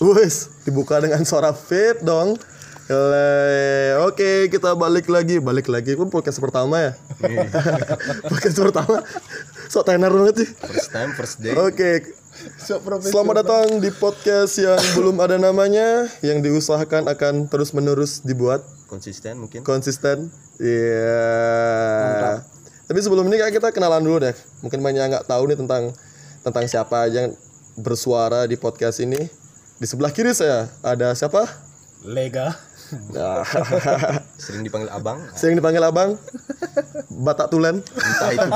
Wes, dibuka dengan suara fit dong. Ele, Oke, kita balik lagi, balik lagi. Kan podcast pertama ya. podcast pertama. Sok tenar banget sih. First time, first day. Oke. Selamat datang di podcast yang belum ada namanya, yang diusahakan akan terus menerus dibuat Konsisten mungkin. konsisten. Iya. Tapi sebelum ini kayak kita kenalan dulu deh. Mungkin banyak yang nggak tahu nih tentang tentang siapa aja yang bersuara di podcast ini. Di sebelah kiri saya ada siapa? Lega. Nah, Sering dipanggil abang. sering dipanggil abang. Batak Tulen. Entah itu.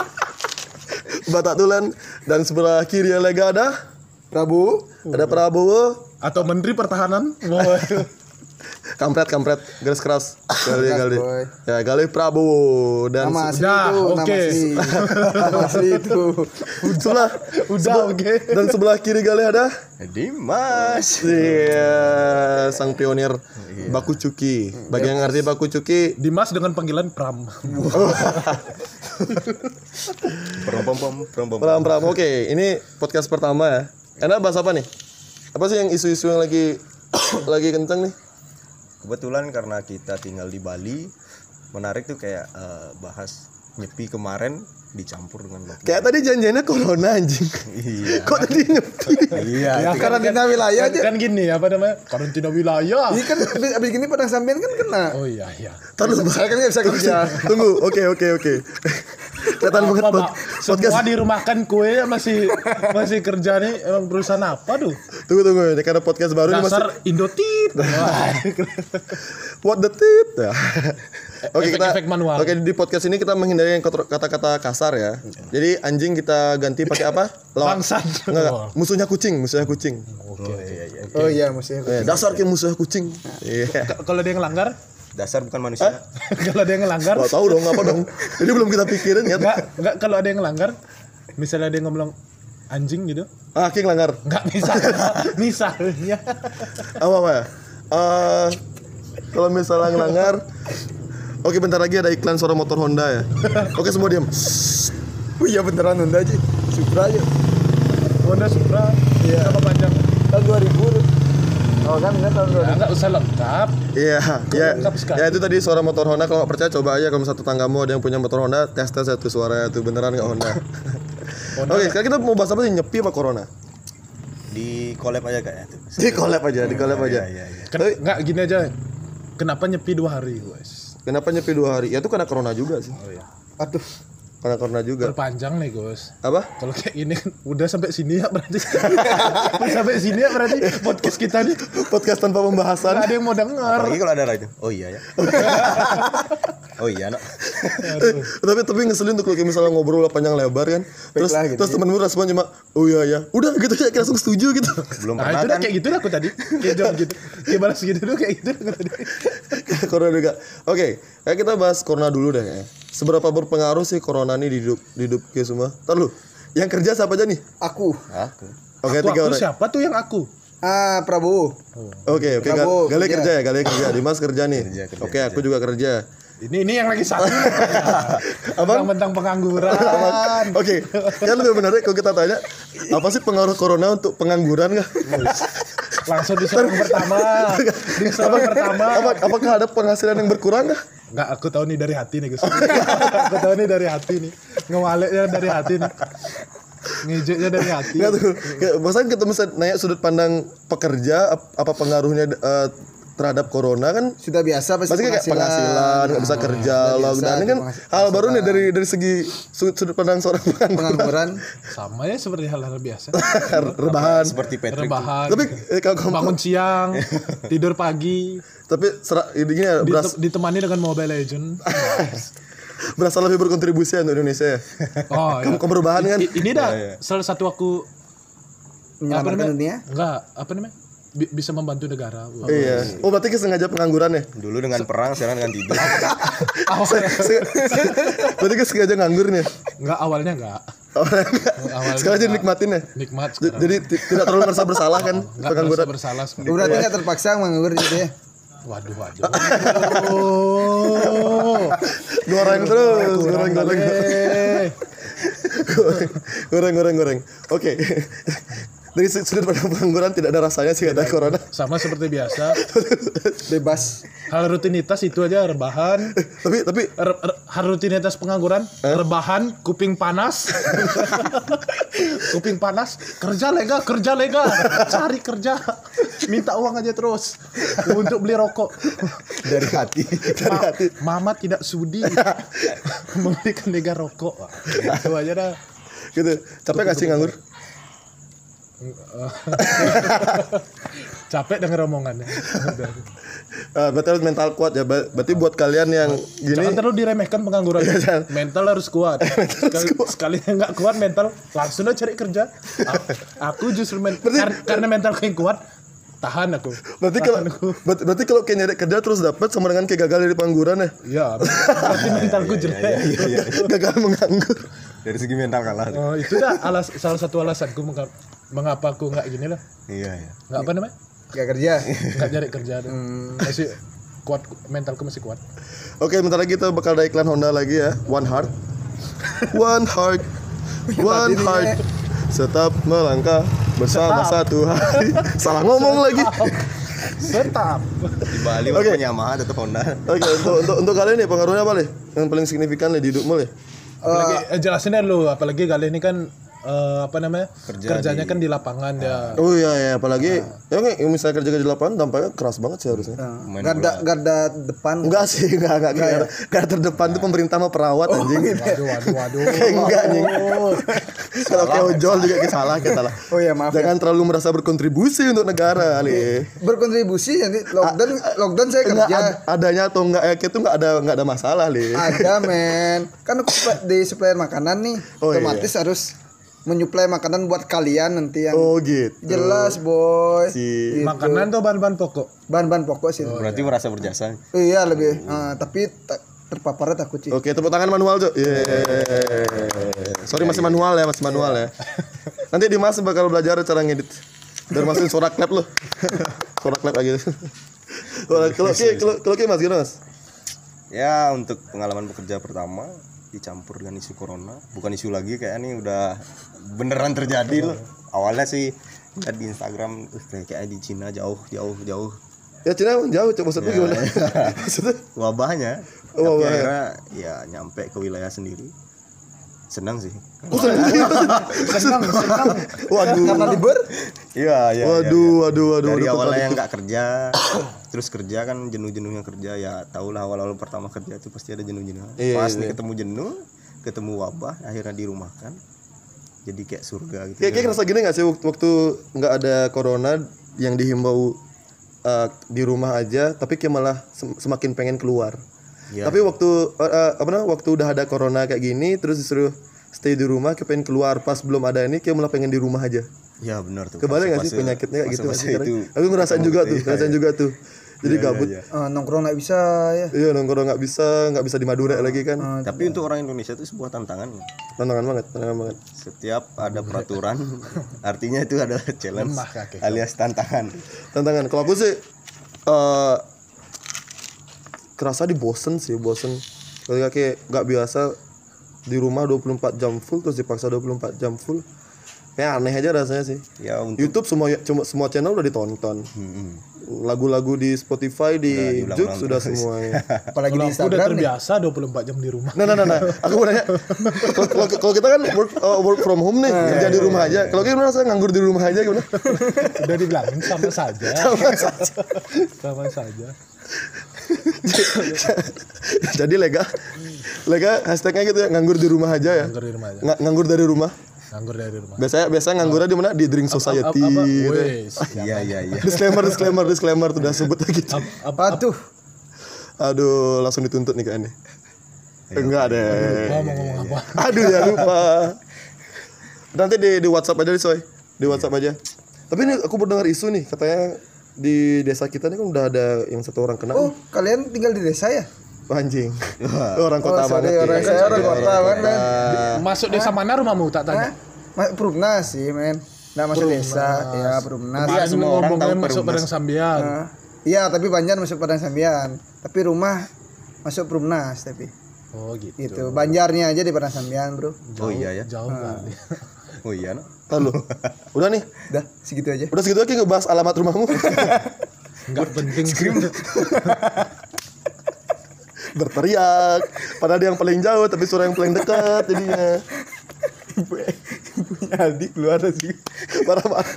Batak Tulen. Dan sebelah kiri Lega ada Prabu ada Prabowo. atau Menteri Pertahanan. Waduh. Kampret kampret garis keras Gali Ah, Keras, Gali boy. ya Gali Prabowo dan Nama se- asli Udah, itu, nama oke. asli. nama asli itu. sebelah Udah, oke. dan sebelah kiri Gali ada Dimas. Iya, sang pionir Iya. baku cuki. Bagi yang ngerti baku cuki, Dimas dengan panggilan Pram. Prom pom pom prom pom. peram peram. Oke, ini podcast pertama ya. Enak bahas apa nih? Apa sih yang isu-isu yang lagi lagi kenceng nih? Kebetulan karena kita tinggal di Bali, menarik tuh kayak eh, bahas nyepi kemarin dicampur dengan lockdown. Kayak tadi janjiannya corona anjing. Iya. Kok tadi nyepi? Iya. Ya, karantina wilayah Kan, aja. kan gini apa namanya? Karantina wilayah. Ini kan abis, abis gini padang sampean kan kena. Iya. Oh iya iya. Terus Saya kan nggak bisa kerja. tunggu. Oke, oke, oke. Kelihatan banget Apa, pod- Pak? podcast. Kan Semua dirumahkan kue masih masih kerja nih emang perusahaan apa tuh? Tunggu, tunggu. Ini karena podcast baru ini masih Dasar Indotit. What the tit? Ya. Oke kita Efek-efek E- manual. Oke di podcast ini kita menghindari yang kotor- kata-kata kasar ya. Iya. Jadi anjing kita ganti pakai apa? Lawan- Bangsat. Nggak, nggak. Musuhnya kucing, musuhnya kucing. Oh, iya, iya. Oh iya musim. Eh, dasar kayak musuhnya kucing. Iya. K- Kalau dia ngelanggar, Dasar bukan manusia. kalau dia ngelanggar, Nggak tahu dong apa dong. Jadi belum kita pikirin ya. enggak enggak kalau ada yang ngelanggar, misalnya dia ngomong anjing gitu, Ah, King langgar. enggak bisa. Misalnya. Apa apa ya? Eh, kalau misalnya ngelanggar Oke bentar lagi ada iklan suara motor Honda ya. Oke semua diam. Oh iya beneran Honda aja. Supra aja. Honda Supra, Iya. nama panjang. Tahun 2000. tuh. Oh kan kan tahun Ya, enggak usah lengkap. Iya, ya, lengkap sekali. ya itu tadi suara motor Honda. Kalau nggak percaya coba aja kalau misalnya tetanggamu ada yang punya motor Honda, tes tes satu suaranya tuh beneran nggak Honda. Oke, sekarang kita mau bahas apa sih nyepi apa corona? Di collab aja kayak itu. Di collab aja, di collab aja. Iya, iya. Ken- Enggak gini aja. Kenapa nyepi dua hari, guys? Kenapa nyepi dua hari? Ya itu karena corona juga sih. Aduh. Karena corona juga. Perpanjang nih, guys. Apa? Kalau kayak gini kan udah sampai sini ya berarti. Udah sampai sini ya berarti podcast kita nih Podcast tanpa nggak pembahasan. ada yang mau denger. Apalagi kalau ada Raja. Oh iya ya. oh iya, nak. Eh, tapi tapi ngeselin tuh kalau kayak misalnya ngobrol lah panjang lebar kan. Terus Baiklah, gitu terus temenmu respon cuma oh iya ya. Udah gitu aja kayak langsung setuju gitu. Belum Nah, pernah itu udah kan? kayak gitu dah aku tadi. Kayak jawab gitu. Kayak balas gitu dulu kayak gitu dah aku tadi. corona juga. Oke, kayak kita bahas corona dulu deh kayaknya. Seberapa berpengaruh sih corona ini di hidup di hidup kita semua? Ntar lu, yang kerja siapa aja nih? Aku. Aku. Oke, Aku, tiga aku orang. siapa tuh yang aku? Ah Prabowo. Oke, oke. Gal- Prabowo, Gali kerja. kerja ya, Gali kerja. Dimas kerja nih. Kerja, kerja, Oke, aku juga kerja. Ini ini yang lagi satu. Abang tentang pengangguran. Kan. Oke, yang lebih menarik kalau kita tanya, apa sih pengaruh corona untuk pengangguran nggak? Langsung di serang pertama. Di serang pertama. Apa, apakah ada penghasilan yang berkurang nggak? Enggak, aku tahu nih dari hati nih, Gus. aku tahu nih dari hati nih. Ngewaleknya dari hati nih. Ngejeknya dari hati. Nggak tuh. Kayak, Bahkan ketemu saya nanya sudut pandang pekerja, ap- apa pengaruhnya eh, terhadap corona kan Sudah biasa pasti Maksudnya kayak penghasilan, Ah, nggak bisa kerja, lockdown. Ini kan hal baru nih dari dari segi sudut, sudut pandang seorang pengangguran. Pengangguran. Sama ya seperti hal-hal biasa. rebahan. Seperti Patrick. Rebahan. Tapi eh, kalau kamu- bangun siang, tidur pagi, tapi serak ini gini ya, ditem- beras- ditemani dengan Mobile Legend. berasa lebih berkontribusi ya untuk Indonesia. ya. Oh, Kamu kamu rebahan kan? I- ini dah salah satu aku apa Menyelamatkan namanya? dunia. Enggak, apa namanya? Bi- bisa membantu negara. Wah. Iya. Oh berarti kesengaja pengangguran ya? Dulu dengan perang, sekarang dengan tidur. Oh, Awal- Se- se- berarti kesengaja nganggur nih. enggak awalnya enggak. Orang Awalnya sekarang jadi nikmatin ya. nikmat J- sekarang. Jadi ti- tidak terlalu merasa bersalah kan Enggak merasa pengangguran. bersalah sekarang. Gitu Berarti nggak terpaksa menganggur gitu ya. Waduh, waduh. Oh, Goreng terus, goreng goreng. Eh, goreng. goreng goreng goreng oke dari sud- sudut pandang pengangguran tidak ada rasanya sih kata corona. Sama seperti biasa, Bebas. hal rutinitas itu aja rebahan. tapi tapi Re- re- hal rutinitas pengangguran, rebahan, kuping panas. kuping panas, kerja lega, kerja lega. Cari kerja. Minta uang aja terus untuk beli rokok. Dari hati. dari Ma- hati Mama tidak sudi membelikan lega rokok. Wah, Itu aja dah. gitu. Capek gak sih nganggur? Capek denger omongannya. Udah. Eh, berarti harus mental kuat ya. Ber- Berarti buat kalian yang Jangan gini terlalu diremehkan pengangguran. Iya, jangan. mental harus kuat. sekali, sekali nggak kuat mental, langsung aja cari kerja. A- aku justru men- kar- karena mental yang kuat, tahan aku. berarti kalau berarti, berarti kalau kayak nyari kerja terus dapat sama dengan kayak gagal dari pengangguran ya. Ya, berarti mentalku Iya, jelek. Iya, gagal menganggur. Dari segi mental kalah. Oh, itu dah alas salah satu alasanku menga- mengapa aku nggak gini lah. Iya ya. Nggak apa namanya? Gak kerja. Nggak cari kerja. dah. Masih kuat mentalku masih kuat. Oke, bentar lagi kita bakal ada iklan Honda lagi ya. One heart. One heart. One heart. Tetap melangkah bersama satu hari. Salah ngomong lagi. Tetap. Di Bali Oke. walaupun Yamaha tetap Honda. Oke, untuk untuk untuk kalian nih pengaruhnya apa nih? Yang paling signifikan nih di hidupmu nih. apalagi eh, jelasin deh lu apalagi kali ini kan eh, apa namanya Kerja kerjanya kan di lapangan ya Oh iya ya, apalagi ya oke, yang misalnya kerja kerja di lapangan tampaknya keras banget sih harusnya. Main Nah, Garda garda depan. Enggak sih, enggak enggak enggak. Iya. Garda terdepan tuh pemerintah mah perawat Oh, anjing. waduh waduh waduh Kayak enggak anjing. Kalau kayak ojol juga kayak salah kayak salah. Oh iya, maaf ya. Jangan terlalu merasa berkontribusi untuk negara nih. Berkontribusi nanti lockdown lockdown saya Ah. Enggak kerja. Ah. ad- adanya atau enggak ya itu enggak ada enggak ada masalah nih. Ada men. Kan aku supla- di supplier makanan nih. Oh, iya. otomatis harus menyuplai makanan buat kalian nanti yang Oh gitu. jelas boy. Iya. Si- Oh, makanan tuh bahan-bahan pokok Bahan-bahan pokok sih. Berarti merasa berjasa. Iya lebih. Ah, tapi ta- terpaparnya takut Eh, sih. Oke, tepuk tangan manual, Cuk. Yeay. Sorry masih manual ya, Iya. masih manual ya. Nanti Dimas bakal belajar cara ngedit. Biar masukin suara clap loh. suara clap Iya, aja. Suara- Kalau Ki- kalau kalau Ki, Mas gimana, Mas? Ya untuk pengalaman bekerja pertama dicampur dengan isu corona, bukan isu lagi kayak ini udah beneran terjadi loh. Awalnya sih lihat di Instagram "Uh, kayak kayak di Cina jauh jauh jauh Ya Cina emang jauh, Cuk. Maksudnya gimana? Maksudnya wabahnya. Oh, Tapi wabahnya. akhirnya ya nyampe ke wilayah sendiri. Senang sih. senang senang waduh. Karena liber Iya, iya. iya. Waduh, waduh, waduh. dari waduh, awalnya yang nggak kerja terus kerja kan jenuh-jenuhnya kerja ya tau lah awal-awal pertama kerja itu pasti ada jenuh-jenuh Iya, pas iya, nih ketemu jenuh ketemu wabah akhirnya dirumahkan jadi kayak surga gitu Kayak kayak ngerasa gini gak sih waktu, waktu nggak ada corona yang dihimbau eh, di rumah aja, tapi kayak malah sem- semakin pengen keluar. Iya. Tapi waktu eh, eh, apa namanya waktu udah ada corona kayak gini, terus disuruh stay di rumah, kayak pengen keluar. Pas belum ada ini, kayak malah pengen di rumah aja. ya benar tuh Kebayang gak sih Fase-fase- penyakitnya kayak gitu? fase-fase sekarang? itu ya. Aku ngerasain juga tuh, ngerasain juga tuh. Jadi gabut. Iya, iya. Ah, nongkrong nggak bisa ya. nongkrong nggak bisa, nggak bisa di Madura lagi kan. tapi untuk orang Indonesia itu sebuah tantangan ya. Tantangan banget, tantangan banget. setiap ada peraturan artinya itu ada challenge Lemah kaki. alias tantangan tantangan kalau aku sih eh kerasa di bosen sih bosen ketika kayak nggak biasa di rumah 24 jam full terus dipaksa 24 jam full kayak aneh aja rasanya sih ya untuk YouTube semua cuma semua channel udah ditonton Mm-mm. lagu-lagu di Spotify di Udah diulang-ulang Jux sudah terus. semuanya Apalagi kalau aku di udah Instagram ya? nih. terbiasa 24 jam di rumah Nah, nah, nah, nah. Aku mau nanya. Kalau- kalau- Kalau kita kan work, eh, work from home nih, Nah, kerja iya, di rumah aja. Kalau kita merasa nganggur di rumah aja gimana? udah dibilangin sama saja Sama saja. sama saja Jadi lega, lega hashtagnya gitu ya nganggur di rumah aja ya. nganggur di rumah aja Nga- nganggur dari rumah. nganggur dari rumah Biasanya biasanya nganggurnya di mana? Di drink society. apa apa gitu ya. wes iya iya iya Disclaimer, disclaimer, disclaimer tuh udah sebut lagi. tuh. apa Aduh, Aduh, langsung dituntut nih kayaknya. Enggak deh. mau ngomong iya. apa Aduh ya lupa. Nanti di di WhatsApp aja deh, Soy. Di WhatsApp aja. Tapi ini aku mendengar isu nih, katanya di desa kita nih kan udah ada yang satu orang kena. oh kalian tinggal di desa ya? Oh, anjing. orang kota oh, sorry, banget. orang ya. saya orang kota banget men. masuk desa mana rumahmu tak tanya Hah? Ma- Perumnas sih men. Nah masuk desa, ya Perumnas. Kemarin semua orang ngomongnya tahu masuk bareng sambian Nah, Iya, tapi Banjar masuk Padang Sambian. Tapi rumah masuk Perumnas tapi oh gitu gitu. Banjarnya aja di Padang Sambian, Bro. oh iya ya jauh kali oh iya no? Lalu. Udah nih. Udah, segitu aja. Udah segitu aja ngebahas alamat rumahmu. Enggak penting sih. Berteriak. Padahal dia yang paling jauh tapi suara yang paling dekat jadinya. Punya Aldi keluar sih. Parah parah.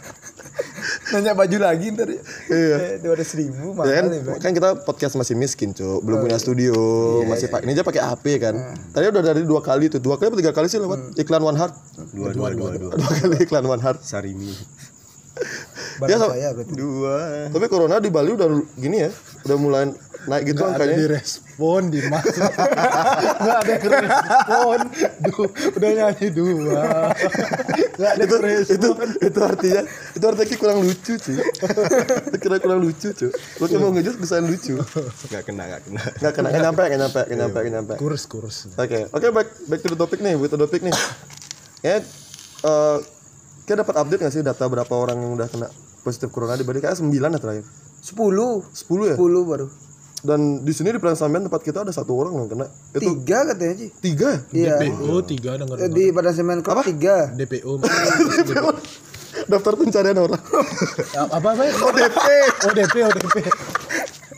Nanya baju lagi ntar ya. Iya. Dua ratus ribu mahal Ya kan, nih, Bang. kan kita podcast masih miskin, Cuk. Belum punya studio, masih pak ini aja pakai HP kan. Tadi udah dari dua kali tuh, dua kali atau tiga kali sih lewat iklan One Heart. dua dua dua dua Dua kali iklan One Heart. sarimi Barang sama- saya berarti. dua Tapi corona di Bali udah gini ya, udah mulai naik gitu Gak ada angkanya. direspon di mas Gak ada yang respon Duh, Udah nyanyi dua Gak ada itu, yang respon itu itu artinya itu artinya kayak kurang lucu sih kira kurang lucu cuy lu kan mau ngejus bisa lucu nggak kena nggak kena nggak kena nggak nyampe nggak nyampe nggak nyampe nggak nyampe oke Kurus kurus oke back back to the topic nih back to the topic nih ya eh kita dapat update nggak sih data berapa orang yang udah kena positif corona di Bali kayak sembilan ya terakhir Sepuluh. sepuluh ya Sepuluh baru. dan di sini di Perang Sambian tempat kita ada satu orang yang kena itu Tiga katanya sih. tiga ya? Iya. DPO tiga denger Eh, Di Padang Semen Club tiga. DPO daftar pencarian orang Apa apa ya? ODP ODP ODP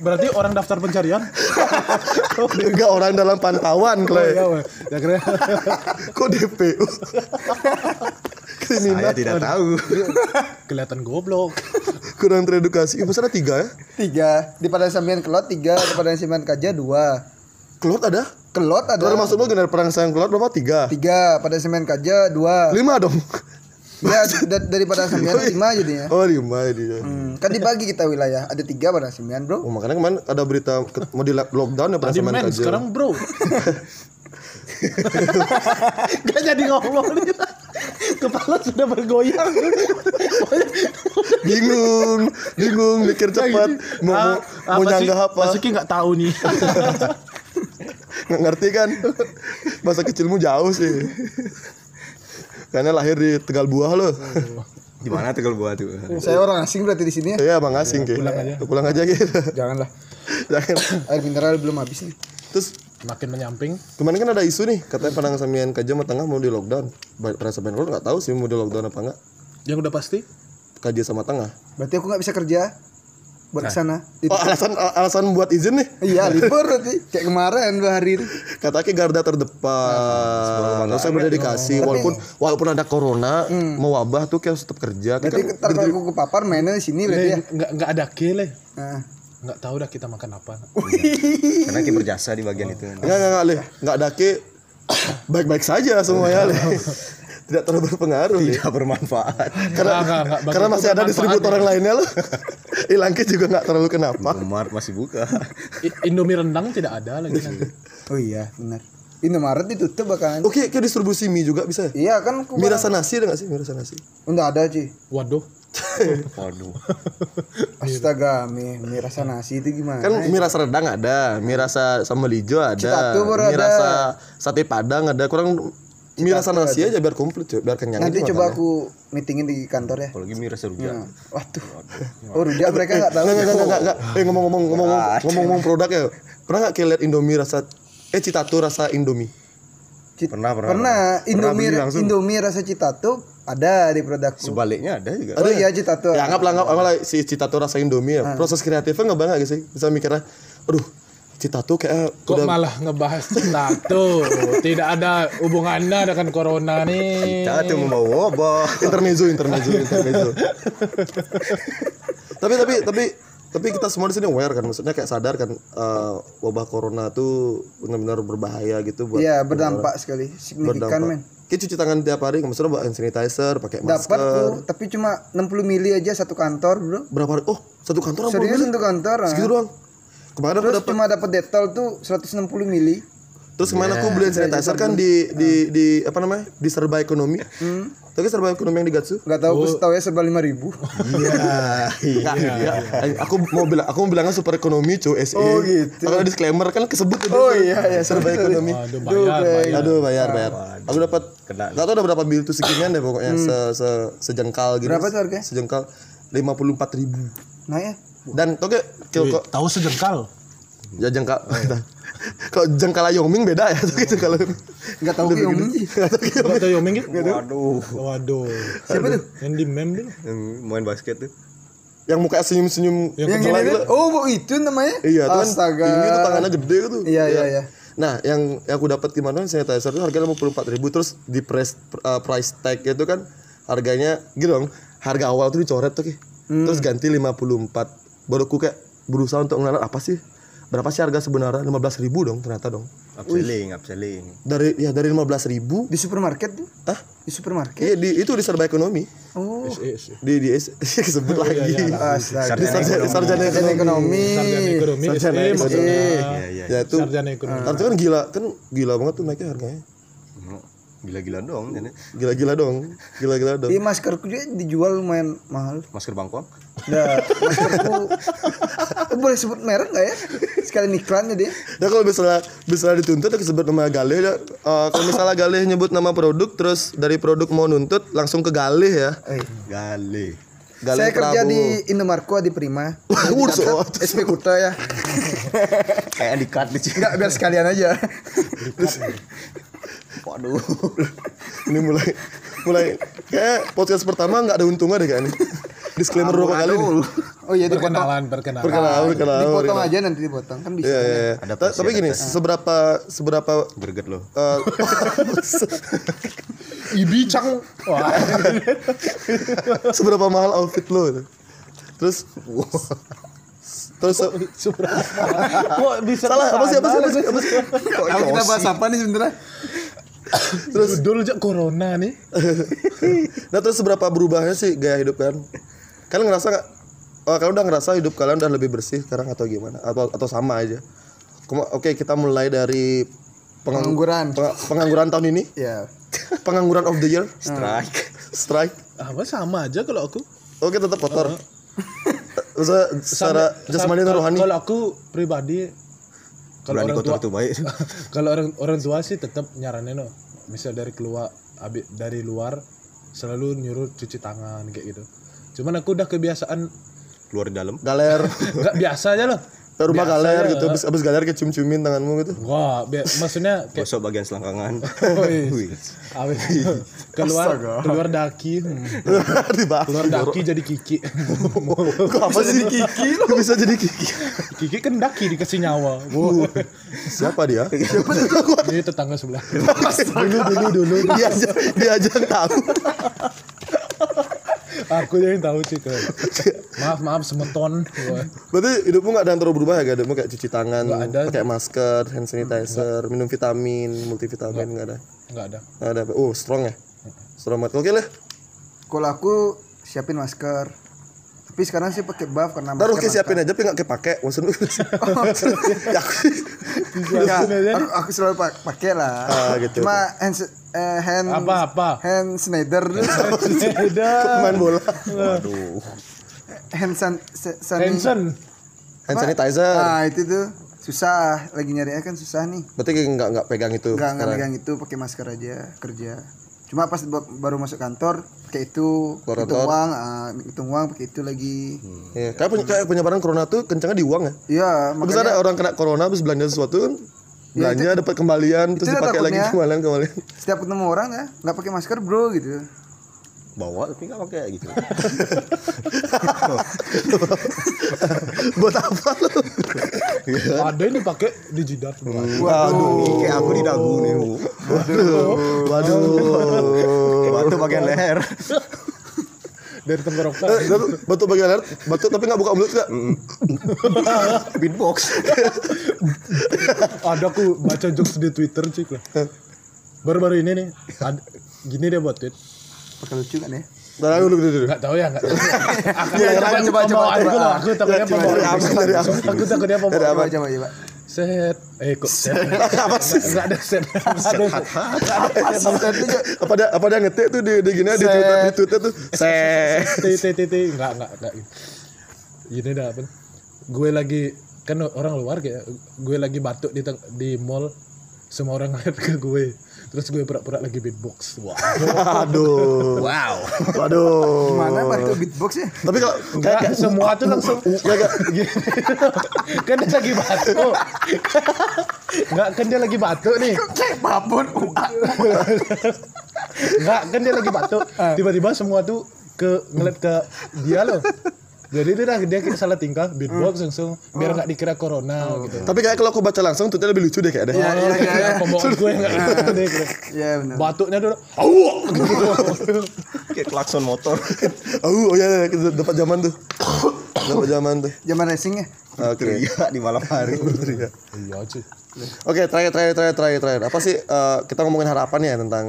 Berarti orang daftar pencarian enggak orang dalam pantauan Oh, Clay iya, weh. Ya keren Kok DPO? Kriminal saya tidak tahu Kelihatan goblok kurang teredukasi. Ibu sana tiga ya? Tiga. Di Padang Semen Club tiga. Di Padang Semen Kaja dua. Kelot ada? Kelot ada. Kelot maksud lu gener perang sayang kelot berapa? Tiga? tiga. Padang Semen Kaja dua. Lima dong? Ya da- dari Padang Semen lima Ya. jadinya. Oh lima dia. Hmm, kan dibagi kita wilayah. Ada tiga Padang Semen bro. Oh, makanya kemarin ada berita ke- mau di la- lockdown ya perang Tadi sama men Kajo. sekarang bro Gak jadi ngomong nih. Kepala sudah bergoyang bingung, bingung mikir cepat mau Ah, mau, mau nyanggah apa? Masuki gak tahu nih Nggak ngerti kan? Bahasa kecilmu jauh sih. Karena lahir di Tegal Buah lo. Oh. di mana tegal buah tuh Saya orang asing berarti di sini ya. Iya, bang asing Ki. pulang aja. Pulang aja gitu. Janganlah. Jangan. Air mineral belum habis nih. Terus Makin menyamping Kemarin kan ada isu nih, katanya Padang Samian Kajem Tengah mau di lockdown. Ba- Rasa Bandung nggak tahu sih mau di lockdown apa enggak. Yang udah pasti Kaji sama Tengah. Berarti aku nggak bisa kerja buat kesana Oh, alasan al- alasan buat izin nih. Iya libur berarti kayak kemarin dua hari itu. Katanya garda Nah, terdepan. Terus saya berdedikasi walaupun walaupun ada corona, mewabah tuh kayak harus tetap kerja. Kita Hmm. Berarti kan Iya, ntar kalau aku kepapar mainnya di sini berarti ya. Leh, nggak nggak ada kele Nah, nggak tahu dah kita makan apa karena kita berjasa di bagian itu enggak enggak enggak, Leh. Enggak ada ke baik-baik saja semuanya, Leh. Tidak terlalu berpengaruh, Iya. Leh. tidak bermanfaat Karena, Enggak, enggak, enggak. Bagi karena aku masih ada di bermanfaat seribu orang lainnya loh. Ilangki juga nggak terlalu kenapa. Mart masih buka I- Indomie rendang tidak ada lagi nanti oh iya benar. Indomaret ditutup bahkan. Oke, kayak distribusi mie juga bisa. ya? Iya kan aku Mie rasa nasi ada nggak sih mie rasa nasi? enggak ada sih. waduh waduh Astaga, mie, mie rasa nasi itu gimana? kan mie rasa redang ada mie rasa sambal hijau ada Citatu baru mie ada. rasa sate padang ada kurang mie rasa nasi aja biar komplit cuy biar kenyang Nanti aja coba makannya. aku meetingin di kantor ya. apalagi mie rasa rujak Waduh. Oh, rujak mereka nggak tahu. Iya. Nggak, nggak, nggak, nggak, nggak. Eh, ngomong-ngomong ngomong-ngomong Ah, ngomong-ngomong produk ya pernah nggak kayak lihat indomie rasa eh citatu rasa indomie Cit- Pernah, pernah, Pernah Indomie beli langsung. Indomie rasa Citatu ada di produkku. sebaliknya ada juga Oh iya Ah. Citatu. ya anggaplah anggap anggaplah si citatu rasa indomie ya proses kreatifnya nggak banget sih bisa mikirnya aduh citatu kayak kok udah malah ngebahas tato tidak ada hubungannya dengan corona nih kita tuh mau wabah intermezzo intermezzo intermezzo tapi tapi tapi tapi kita semua di sini aware kan maksudnya kayak sadar kan eh, wabah corona tuh benar-benar berbahaya gitu buat Iya, berdampak sekali, signifikan men. Kita cuci tangan tiap hari maksudnya buat hand sanitizer pakai Dapat masker tuh, tapi cuma 60 mili aja satu kantor, Bro. berapa hari oh satu kantor apa Serius untuk kantor. ah. segitu doang kemarin aku Terus dapat cuma dapat detol tuh 160 mili. terus kemarin aku beli hand sanitizer kan di di Hmm. di apa namanya di serba ekonomi tapi serba ekonomi yang di Gatsu Enggak tahu aku tahu ya serba 5000. iya Nggak, nggak. Aku mau bilang, aku mau bilangnya super ekonomi cuy SE. Oh gitu. Kalau disclaimer kan kesebut itu. Oh iya, iya, serba ekonomi. waduh bayar bayar Aduh bayar bayar. Aku dapat Kena. nggak tahu ada berapa bill tuh seginian deh pokoknya se, se sejengkal gitu. Berapa tuh harganya? Sejengkal lima puluh empat ribu. Nah ya. Dan oke, okay, Wih, tahu sejengkal Ya jengkal. Kalau jengkal Yoming beda ya. jengkal Yoming. Enggak tahu yang Gak tau Yoming gitu. Waduh, Waduh. Siapa tuh? Yang di meme dia. yang main basket tuh. Yang muka senyum-senyum Yang Yang gila ini gila. kan? Oh, bu- itu namanya? Ya, Iya, tuh kan Astaga. tinggi tuh tangannya gede tuh. Iya, iya, iya. Nah, yang yang aku dapat gimana sanitizer itu harganya 54.000 terus di price eh, price tag itu kan harganya gitu dong. Harga awal tuh dicoret tuh, Ki. Hmm. Terus ganti 54. Baru aku kayak berusaha untuk ngeliat apa sih? Berapa sih harga sebenarnya? 15.000 dong ternyata dong. Upselling, upselling. Dari ya dari 15.000 Di supermarket tuh? Hah? Di supermarket. Iya di itu di serba ekonomi. Oh. Sarjana Di di sebut iya, lagi. Astaga. Di sarjana, sarjana Sarjana ekonomi. ekonomi. ekonomi Sarjana SE maksudnya. Iya, iya. Ya itu. Sarjana ekonomi. Artinya kan gila, kan gila banget tuh naiknya harganya. Gila-gila dong ini. Gila-gila dong. Gila-gila dong. Iya maskerku juga dijual lumayan mahal. Masker bangkuang. Nah, maskerku Eh, boleh sebut merek nggak ya? Sekalian iklan jadi. Ya kalau misalnya misalnya dituntut aku sebut nama Galih ya. Eh, kalau misalnya Galih nyebut nama produk terus dari produk mau nuntut langsung ke Galih ya. Eh, Gale. Galih saya kerja Prabowo. di Indomarko di Prima. Wuh, so- SP Kuta ya. Kayak di cut di sini. Enggak biar sekalian aja. Waduh. Ini mulai mulai kayak podcast pertama nggak ada untungnya deh kayaknya. Disclaimer berapa kali nih? Oh iya dipotong. Perkenalan, perkenalan. Perkenalan, perkenalan. Nah, Dipotong perkenalan. aja nanti dipotong kan bisa. Iya, iya, iya. Ada Ta- Tapi pasti, gini, ada pasti. seberapa seberapa Greget loh. eh, Ibi cang. Wah. seberapa mahal outfit lo? gitu. Terus terus Kok bisa salah apa sih apa sih apa sih apa sih? Kok Kalau kita emosi? bahas apa nih sebenarnya? Terus dulu aja corona nih. nah terus seberapa berubahnya sih gaya hidup kalian? Kalian ngerasa nggak? eh, kalian udah ngerasa hidup kalian udah lebih bersih sekarang atau gimana? Atau atau sama aja? Kema- Oke kita mulai dari pengang- Pengangguran. peng- pengangguran tahun ini, Iya. pengangguran of the year, Hmm. Strike. strike. Apa sama aja kalau aku. Oke tetap kotor. Maksudnya secara Sama- jasmani sama- dan rohani. Kalau aku pribadi Berani kalau orang tua kotor tuh baik. gitu. kalau orang orang tua sih tetap nyaranin loh misal dari keluar abi- dari luar selalu nyuruh cuci tangan kayak gitu cuman aku udah kebiasaan Keluar di dalam. Galer, nggak biasa aja loh ke rumah galer gitu, abis, abis galer kecium-ciumin tanganmu gitu. wah bi- maksudnya kayak Gosok bagian selangkangan. Wih. Wih. abi- keluar keluar daki hmm. Iya. Dibahas. keluar daki jadi kiki Kok apa sih? Kiki lo bisa jadi Kiki. kiki kan daki dikasih nyawa Wah, Siapa dia? Siapa ini tetangga sebelah dulu dulu dulu dia aja dia aja yang tahu aku yang tahu sih tuh. maaf maaf semeton Wah. berarti hidupmu nggak ada yang terlalu berubah ya gak hidupmu kayak cuci tangan Nggak ada. pakai masker hand sanitizer minum vitamin multivitamin nggak ada nggak ada nggak ada oh strong ya strong banget oke lah Kalau aku siapin masker. Tapi sekarang sih pakai buff karena ntar masker Ruki langka. siapin aja tapi nggak kepake maksudnya ya aku Ya, Langsung aja. aku, aku selalu pak- pakai lah. Ah, gitu. Cuma hand s- eh, hand apa apa hand Schneider ada main bola Waduh. hand san, sa- san- Hanson hand sanitizer Ah, itu tuh susah lagi nyari kan susah nih. berarti nggak nggak pegang itu Enggak enggak sekarang megang itu pakai masker aja kerja. Cuma pas ba- baru masuk kantor pakai itu Keluar hitung kantor. uang, ah, hitung uang pakai itu lagi. Iya. kayak, peny- kayak penyebaran corona tuh kencangnya di uang ya Iya, Habis ada orang kena corona habis belanja sesuatu kan belanja dapat kembalian terus itu dipakai lagi takutnya. kembalian kembalian setiap ketemu orang ya nggak pakai masker bro gitu Bawa tapi nggak pakai gitu. buat apa lu ada yang dipakai di jidat Hmm. Waduh. Kayak aku di dagu nih. Bu. waduh Batu bagian leher. dari tenggorokan Eh, batu- batu bagian leher, batu tapi nggak buka mulut nggak? Beatbox. ada aku baca jokes di twitter cik lah baru-baru ini nih ad- gini dia buat tweet pakai lucu kan ya Ntar aku dulu dulu, dulu. nggak tahu ya nggak tahu. aku Iya, takut coba, coba, pembawaan coba. aku loh, aku takutnya Coba, pembawaan coba, coba. Dari apa? aku takutnya coba pembawaan coba coba, coba. set eh kok set nggak ada set Nggak ada set. Apa dia apa dia ngetik tuh di di gini di Twitter di Twitter tuh. Set. T T T T nggak nggak nggak gini dah apa gue lagi kan orang luar kayak gue lagi batuk di teng- di mall semua orang ngeliat ke gue terus gue pura-pura lagi beatbox wah Aduh. Wow. Waduh. Gimana, Pak? Itu beatbox ya? Tapi kalau Nggak, semua tuh langsung kan dia lagi batuk Nggak, kan dia lagi batuk nih Cek babon uak. Nggak, kan dia lagi batuk Ah. tiba-tiba semua tuh ke ngeliat ke dia loh jadi itu dah dia kayak salah tingkah Hmm. beatbox langsung biar Oh. nggak dikira corona gitu tapi kayak kalau aku baca langsung tuh lebih lucu deh kayak ada. Iya, iya, iya, iya. pembohongan gue nggak gitu deh kira. Iya benar. batuknya dulu "Au!" gitu. kayak klakson motor Oh, oh iya, iya, kita dapat zaman tuh. dapat zaman tuh. Zaman racing ya. Oke. Iya di malam hari Iya. iya cuy Oke, terakhir terakhir terakhir terakhir terakhir. Apa sih eh, kita ngomongin harapan ya tentang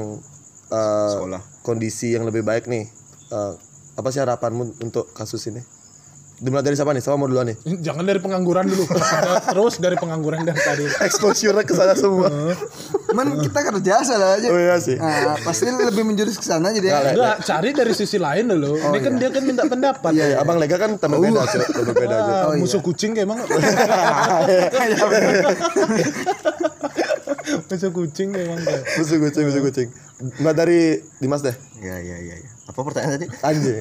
eh, Sekolah. kondisi yang lebih baik nih. Eh, apa sih harapanmu untuk kasus ini? Dimulai dari siapa nih? Siapa mau duluan nih? jangan dari pengangguran dulu terus dari pengangguran dari tadi Exposure ke sana semua. Cuman kita kan kerja salah aja. Oh iya sih. Nah, pasti lebih menjurus ke sana jadi ya. Enggak, cari dari sisi lain dulu. ini kan dia kan minta pendapat. Eh, Abang Lega kan tambah beda sih, tambah beda aja. Ah, musuh kucing kayak emang. musuh kucing kayak emang. kayak. Musuh kucing, musuh kucing. Nah dari Dimas deh, ya ya ya ya apa pertanyaan tadi anjing.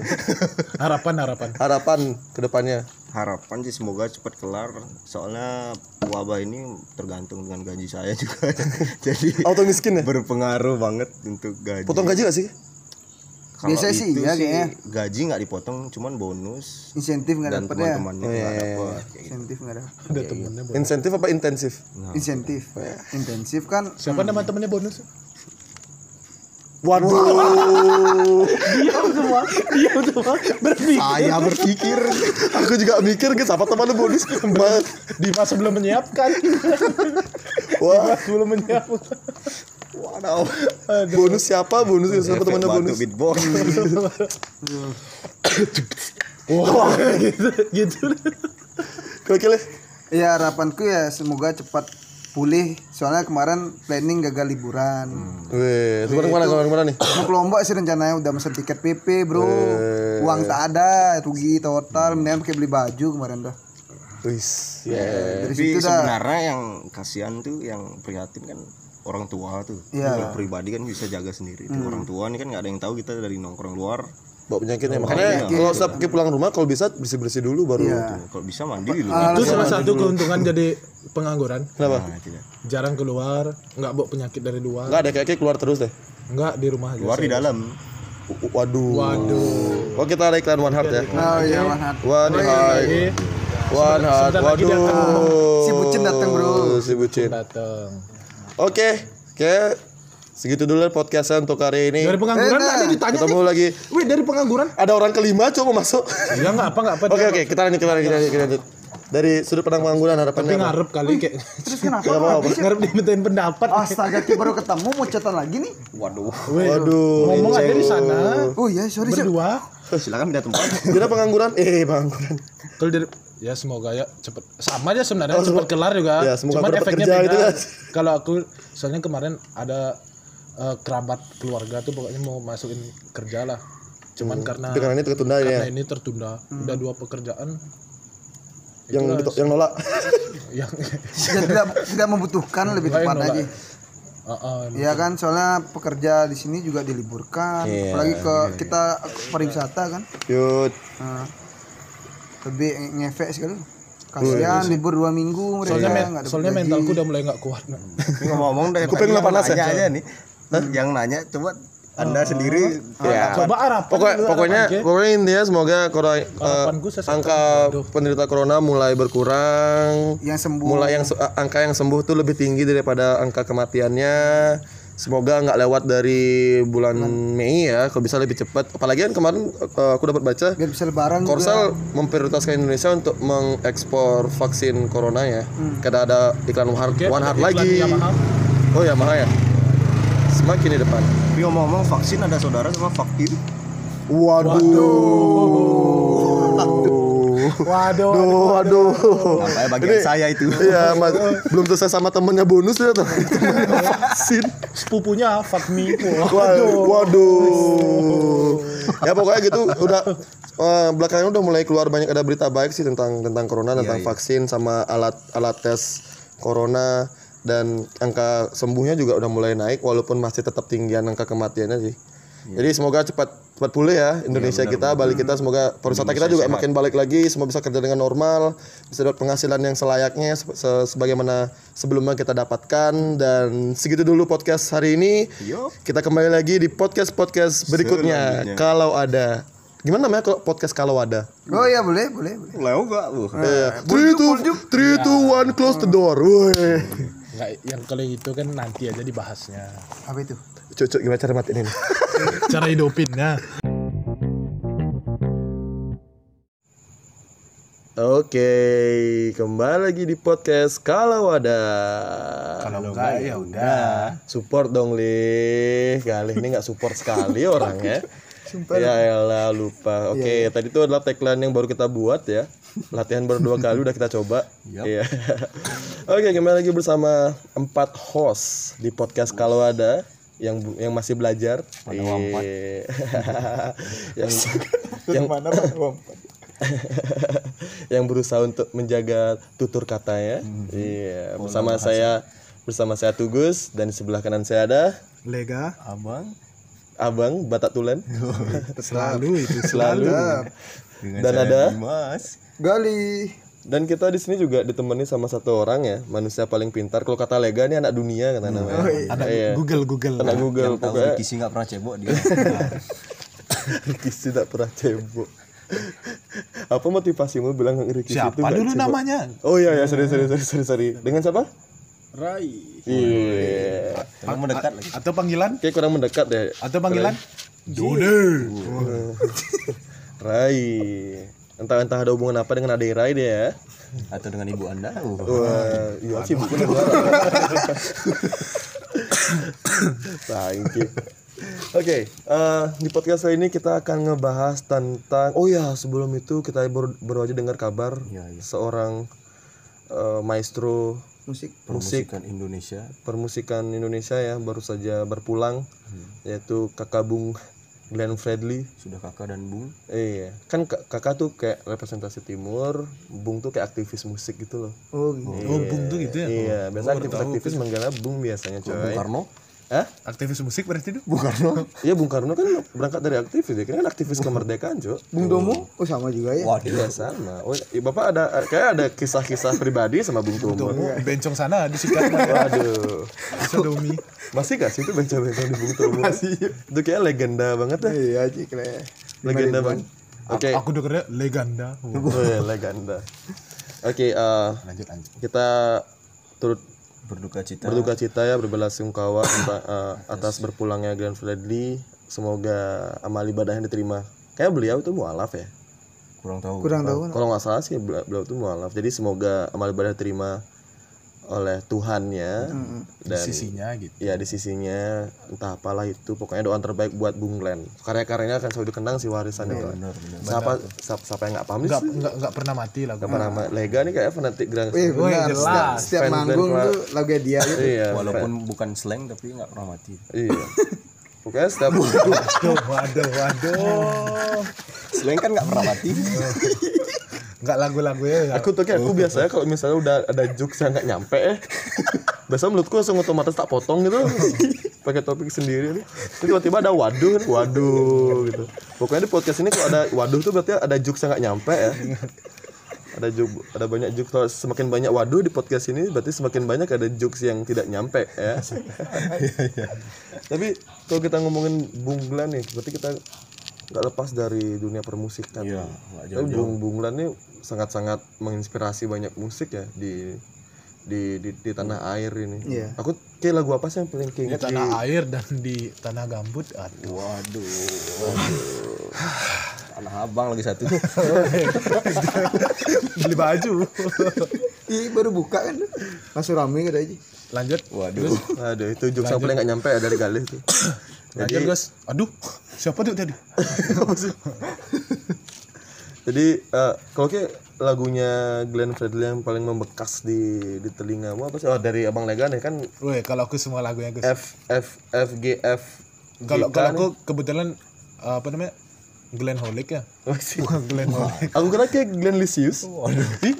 Harapan harapan. Harapan kedepannya. harapan sih semoga cepat kelar soalnya wabah ini tergantung dengan gaji saya juga jadi Auto miskin ya? berpengaruh banget untuk gaji Potong gaji gak sih? Kalau Biasanya itu sih iya kayaknya. gaji nggak dipotong cuman bonus Insentif nggak dan dapet ya. teman-temannya nggak dapet Kayak gitu. Nah. Insentif nggak dapet. Ada temennya. bonus. Insentif apa intensif? Insentif. Intensif kan Siapa nama temennya bonus? Waduh. Diam semua. Diam semua. Berpikir. saya berpikir Aku juga mikir gitu, siapa teman lu bonus? Mas. Dimas sebelum menyiapkan. Wah, Dimas sebelum menyiapkan. waduh. Bonus siapa? Bonus siapa Efek temannya batu bonus? beatbox Wah, gitu gitu. Kira-kira Ya harapanku ya semoga cepat pulih. Soalnya kemarin planning gagal liburan. Hmm. Weh, kemarin kemana kemarin kemana nih? Mau ke Lombok sih rencananya udah mesen tiket PP bro. Uang tak ada, rugi total. Mendingan pakai beli baju kemarin dah. Wis, ya. Dari tapi situ dah. sebenarnya yang kasihan tuh yang prihatin kan orang tua tuh Iya. Kalau pribadi kan bisa jaga sendiri tuh. orang tua ini kan nggak ada yang tahu kita dari nongkrong luar Bawa penyakitnya makanya kalau setiap kali pulang rumah kalau bisa bersih-bersih dulu baru. Iya. kalau Nah, bisa mandiri dulu Itu salah satu keuntungan jadi pengangguran. Kenapa? Nah, tidak. Jarang keluar, nggak bawa penyakit dari luar, Enggak ada kayak keluar terus deh. nggak di rumah aja. luar di dalam W- Waduh. Waduh. Oh kita ada iklan One Heart ya. Oh iya Manhat. One Heart. Oke, One Heart. sebentar lagi dia akan Waduh. Si Bucin datang, bro. Si Bucin. datang. Oke, oke. Segitu dulu podcastnya untuk hari ini. Dari pengangguran Eh, nah. tadi ditanya nih. Ketemu lagi. Wih, dari pengangguran? Ada orang kelima coba masuk. Ya nggak apa nggak apa. Oke oke, kita lanjut kita lanjut kita lanjut. kita lanjut. Dari sudut pandang pengangguran Tapi harapannya. apa? ngarep kali kayak Oh, Terus kenapa? Gak apa-apa. ngarep dimintain pendapat. Ah. Astaga, kita baru ketemu mau catatan lagi nih. waduh Wih, Waduh. ngomong aja di sana Oh iya, sorry sih. berdua. Eh, silakan pindah tempat Kira pengangguran? Eh, pengangguran. Kalau dari ya semoga ya cepet sama aja sebenarnya cepet kelar juga. Ya, Oh, semoga Cuman aku dapat efeknya kerja beda. gitu kan. Kalau aku soalnya kemarin ada eh, kerabat keluarga tuh pokoknya mau masukin kerja lah. Cuman karena Tapi karena ini tertunda karena ya. ini tertunda. Udah dua pekerjaan ya. Yang dito- yang nolak. yang Jadi tidak, tidak membutuhkan lebih Lain tepat nolak. lagi. Ah, ah, Ya. Iya kan, soalnya pekerja di sini juga diliburkan, Iya, apalagi ke kita pariwisata kan. Yud. Nah, lebih nge- ngefek sekali. Kasihan libur dua minggu mereka soalnya, men- nggak dapat soalnya gaji. mentalku udah mulai nggak kuat Nak. ngomong dari Kuping lu tadi yang panas ya? nanya aja nih yang nanya coba anda sendiri Ya. coba kan harapan Pokoknya dulu, pokoknya harapan, Ki. pokoknya intinya semoga kora- eh, gue sesuatu. angka penderita corona mulai berkurang. yang sembuh. mulai yang se- angka yang sembuh tuh lebih tinggi daripada angka kematiannya semoga nggak lewat dari bulan Mei ya kalau bisa lebih cepat apalagi kan kemarin eh, aku dapat baca biar bisa lebaran juga. Korsel memprioritaskan Indonesia untuk mengekspor vaksin corona ya karena ada iklan One Heart, Hmm. Oke, One Heart iklan lagi Yamaha. oh ya mahal ya semakin di depan tapi ngomong-ngomong vaksin ada saudara sama vaksin Waduh. waduh waduh kayak bagian saya itu Iya, mas, belum selesai sama temennya bonus ya tuh. Temennya vaksin. Sepupunya fuck me. Waduh. Waduh. ya pokoknya gitu udah eh, belakangan udah mulai keluar banyak ada berita baik sih tentang tentang corona tentang vaksin sama alat alat tes corona dan angka sembuhnya juga udah mulai naik walaupun masih tetap tinggian angka kematiannya sih. Jadi semoga cepat cepat pulih ya Indonesia kita, balik kita semoga pariwisata kita juga makin balik lagi, semua bisa kerja dengan normal, bisa dapat penghasilan yang selayaknya se- se- sebagaimana sebelumnya kita dapatkan dan segitu dulu podcast hari ini. Yup. Kita kembali lagi di podcast-podcast berikutnya Selanjutnya. kalau ada. Gimana namanya kalau podcast kalau ada? Oh iya boleh, boleh, boleh. Leo gak lu? Iya. Three, two, three, two, one, close the door. Woi. Nggak, yang kalau itu kan nanti aja dibahasnya. Apa itu? Cocok gimana cara matiin ini? Cara hidupinnya. Oke, kembali lagi di podcast kalau ada. Kalau enggak ya Nah. udah. Support dong, Lih. Galih ini nggak support sekali orangnya. Ya elah lupa. Oke, tadi itu adalah tagline yang baru kita buat ya. Latihan baru dua kali udah kita coba. Iya. Oke, kembali lagi bersama empat host di podcast kalau ada yang bu- yang masih belajar. Iya. yang yang Mana yang berusaha untuk menjaga tutur katanya. Hmm. Iya, Oh, bersama saya bersama saya Tugus dan di sebelah kanan saya ada Lega. Abang Abang Batak Tulen Selalu itu. selalu. dengan Dan saya ada? Dimas. Gali. Dan kita di sini juga ditemani sama satu orang ya, manusia paling pintar. Kalau kata Lega nih anak dunia Hmm. kata namanya. Ada Iya. Google Google. Anak Google Tahu pokoknya. Ricky sih nggak pernah cebok dia. Ricky sih tak pernah cebok. Apa motivasimu bilang Ricky itu Siapa nggak dulu cebok? namanya? Oh iya ya, sorry sorry sorry sorry sorry. Dengan siapa? Rai. Iya. Kamu mendekat lagi. Atau panggilan? Kayak kurang mendekat deh. Iya. Atau panggilan? Dode. Rai. Entah-entah ada hubungan apa dengan adik Rai dia ya. Atau dengan ibu anda? Uh. Wah, iya sih bukan Thank you. Oke, eh, di podcast kali ini kita akan ngebahas tentang oh ya sebelum itu kita baru, baru aja dengar kabar seorang eh, maestro Musik. Permusikan Indonesia. permusikan Indonesia ya baru saja berpulang yaitu Kakak Bung Glenn Fredly. Sudah kakak dan bung. Iya, kan Kak- kakak tuh kayak representasi timur, Bung tuh kayak aktivis musik gitu loh. Oh, gitu. Oh, Bung tuh gitu ya. Iya, biasa aktivis-aktivis manggilnya Bung biasanya Bung coy. Karno. Hah? Aktivis musik berarti itu? Bung Karno. Iya Bung Karno kan berangkat dari aktivis ya, kan aktivis kemerdekaan cuy. Bung Domo? Oh sama juga ya. Waduh. Iya sama. Oh, iya, bapak ada kayak ada kisah-kisah pribadi sama Bung Tomo. Di Oh, bencong sana disikat sama Waduh, sodomi. masih gak sih itu bencong-bencong di Bung Tomo? Masih. Itu kayak legenda banget ya, Iya, Cik. Le. legenda banget. Oke, Aku dengernya legenda. Eh, legenda. Oke, eh, Lanjut lanjut. kita turut Berduka cita. berduka cita ya berbelasungkawa tentang, eh, atas berpulangnya Glenn Fredly. Semoga amal ibadahnya diterima. Kayak beliau itu mualaf ya. Kurang tahu. Kurang tahu. Kalau nggak salah sih bel- beliau itu mualaf. Jadi semoga amal ibadah diterima oleh Tuhannya Di dan sisinya gitu. ya di sisinya entah apalah itu pokoknya doa terbaik buat Bung Glenn. Karya-karyanya akan selalu dikenang si warisan itu. Benar benar. Siapa siapa, siapa yang nggak paham Enggak sih? enggak enggak pernah mati lagu. Apa nama Lega nih kayak fanatik Grand. Eh, Woi, benar. jelas. Setiap, setiap Fan manggung band, tuh lagunya dia gitu. Iya. Walaupun bukan slang tapi nggak pernah mati. Iya. Pokoknya setiap Waduh, waduh, waduh. Slang kan nggak pernah mati. Enggak lagu-lagunya enggak. aku tuh kayak aku biasanya kalau misalnya udah ada jokes yang nggak nyampe ya biasanya mulutku langsung otomatis tak potong gitu pakai topik sendiri nih Terus tiba-tiba ada waduh nih, waduh gitu pokoknya di podcast ini kalau ada waduh tuh berarti ada jokes yang nggak nyampe ya ada jokes ada banyak jokes Kalau semakin banyak waduh di podcast ini berarti semakin banyak ada jokes yang tidak nyampe ya iya. tapi kalau kita ngomongin Bung Glenn nih berarti kita nggak lepas dari dunia permusikan Iya, nggak tapi Bung Bung Lan ini sangat-sangat menginspirasi banyak musik ya di di di, di tanah air ini. Iya. Aku kayak lagu apa sih yang paling Di keinget di, tanah air dan di tanah gambut. Aduh. Waduh. Tanah abang lagi satu. Beli baju. Ih, baru buka kan. Langsung rame kata aja. Lanjut. Waduh. Aduh, itu jokes yang paling gak nyampe ya dari Galih tuh. Lanjut, Guys. Aduh. Siapa tuh tadi? Jadi eh, kalau kayak lagunya Glenn Fredly yang paling membekas di di telingamu apa sih? Oh, dari Abang Lega nih kan Woi, kalau aku semua lagunya, Gus. F F F G F G, Kalau kalau K aku kebetulan uh, apa namanya? Glenn Holik ya. nih. Masih. Glenn Holik. Aku kira kayak Glenn Lisius. Waduh. Ih,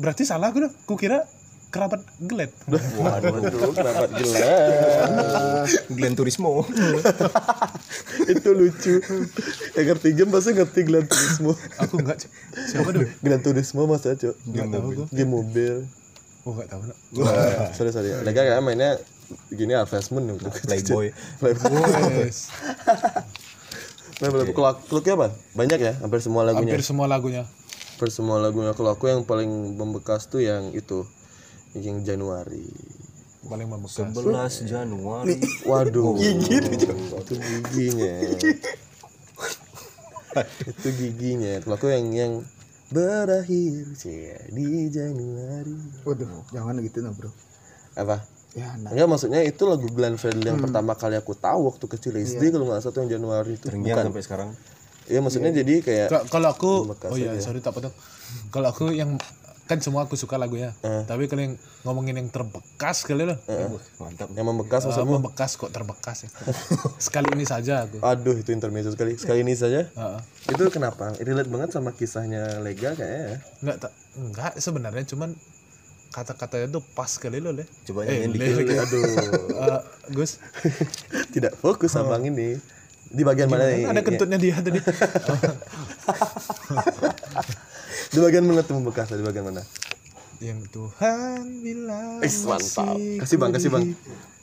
Berarti salah gue dong. Ku kira kerabat gelet. Waduh, kerabat Glenn. Glenn Turismo. itu lucu yang ngerti game pasti ngerti Gran Turismo Aku enggak. Cuk. Siapa dulu? Gran Turismo masa cok Enggak tahu aku. game mobil Oh, enggak tahu. Nak. Wah, Ah, sorry sorry mereka kayak mainnya gini Harvest Moon gitu. Playboy. Playboy Wes. nah Playboy kelak kelaknya apa banyak ya hampir semua lagunya Hampir semua lagunya. hampir semua lagunya kalau aku yang paling membekas tuh yang itu yang Januari Paling membekas. 11 Januari. waduh gigi itu giginya itu giginya kalau aku yang yang berakhir cie, di Januari Waduh, jangan gitu nah, Bro. apa Ya, nah. Enggak maksudnya itu lagu Glenn Fredly yang Hmm. pertama kali aku tahu waktu kecil Iya. SD kalau nggak salah tuh yang Januari itu. Terngiang sampai sekarang. Iya maksudnya jadi kayak Ka- Kalau aku, oh iya, sorry tak potong. Kalau aku yang kan semua aku suka lagunya. Tapi kalau yang ngomongin yang terbekas kali loh. Mantap. yang membekas maksudnya. Sama bekas kok terbekas ya. Sekali ini saja aku. Aduh itu intermezzo sekali. Iya. Sekali ini saja. Heeh. Itu kenapa? Relate banget sama kisahnya Lega kayaknya. ya. Enggak tak enggak sebenarnya cuman kata-katanya tuh pas kali lo, Le. Coba Eh, nyanyiin Le, dikit. Le. Aduh. Eh, Gus, Tidak fokus abang ini. Di bagian mana nih? kan Oh. ada kentutnya dia tadi. Di bagian mana tuh membekas? Di bagian mana? yang Tuhan bilang Is, mantap. masih Kasih, Bang, kasih, Bang.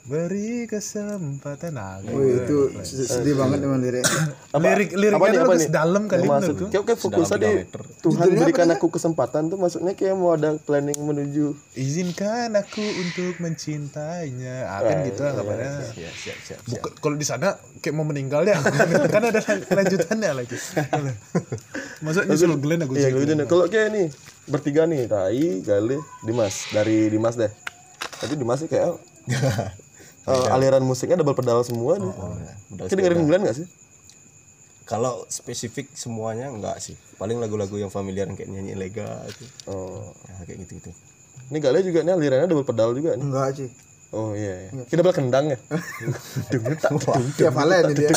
beri kesempatan aku Wih, itu sedih banget emang diri. lirik apa nih, liriknya apa tuh nih? dalam kali Yang masuk. menurutku Kayak, kayak fokus tadi. Tuhan berikan aku kesempatan tuh maksudnya kayak mau ada planning menuju izinkan aku untuk mencintainya ah, kan gitu anggapannya Ya, siap, siap. Buka- kalau di sana kayak mau meninggal ya kan ada lan- lanjutannya lagi maksudnya nyusul Glenn aku Iya, sih. gue Junior. Kalau kayak nih bertiga nih, Tai, Galih, Dimas. Dari Dimas deh. Tapi Dimas sih kayak Iya. eh, aliran musiknya double pedal semua nih. Oh, Udah, Kita dengerin Glenn gak sih? Kalau spesifik semuanya enggak sih. Paling lagu-lagu yang familiar yang kayak nyanyi lega itu. Oh. Ya, kayak gitu-gitu. Ini Galih juga nih alirannya double pedal juga nih. Enggak, sih. Oh iya, iya. Kita double kendang ya. Denger tak? Ya Valen dia.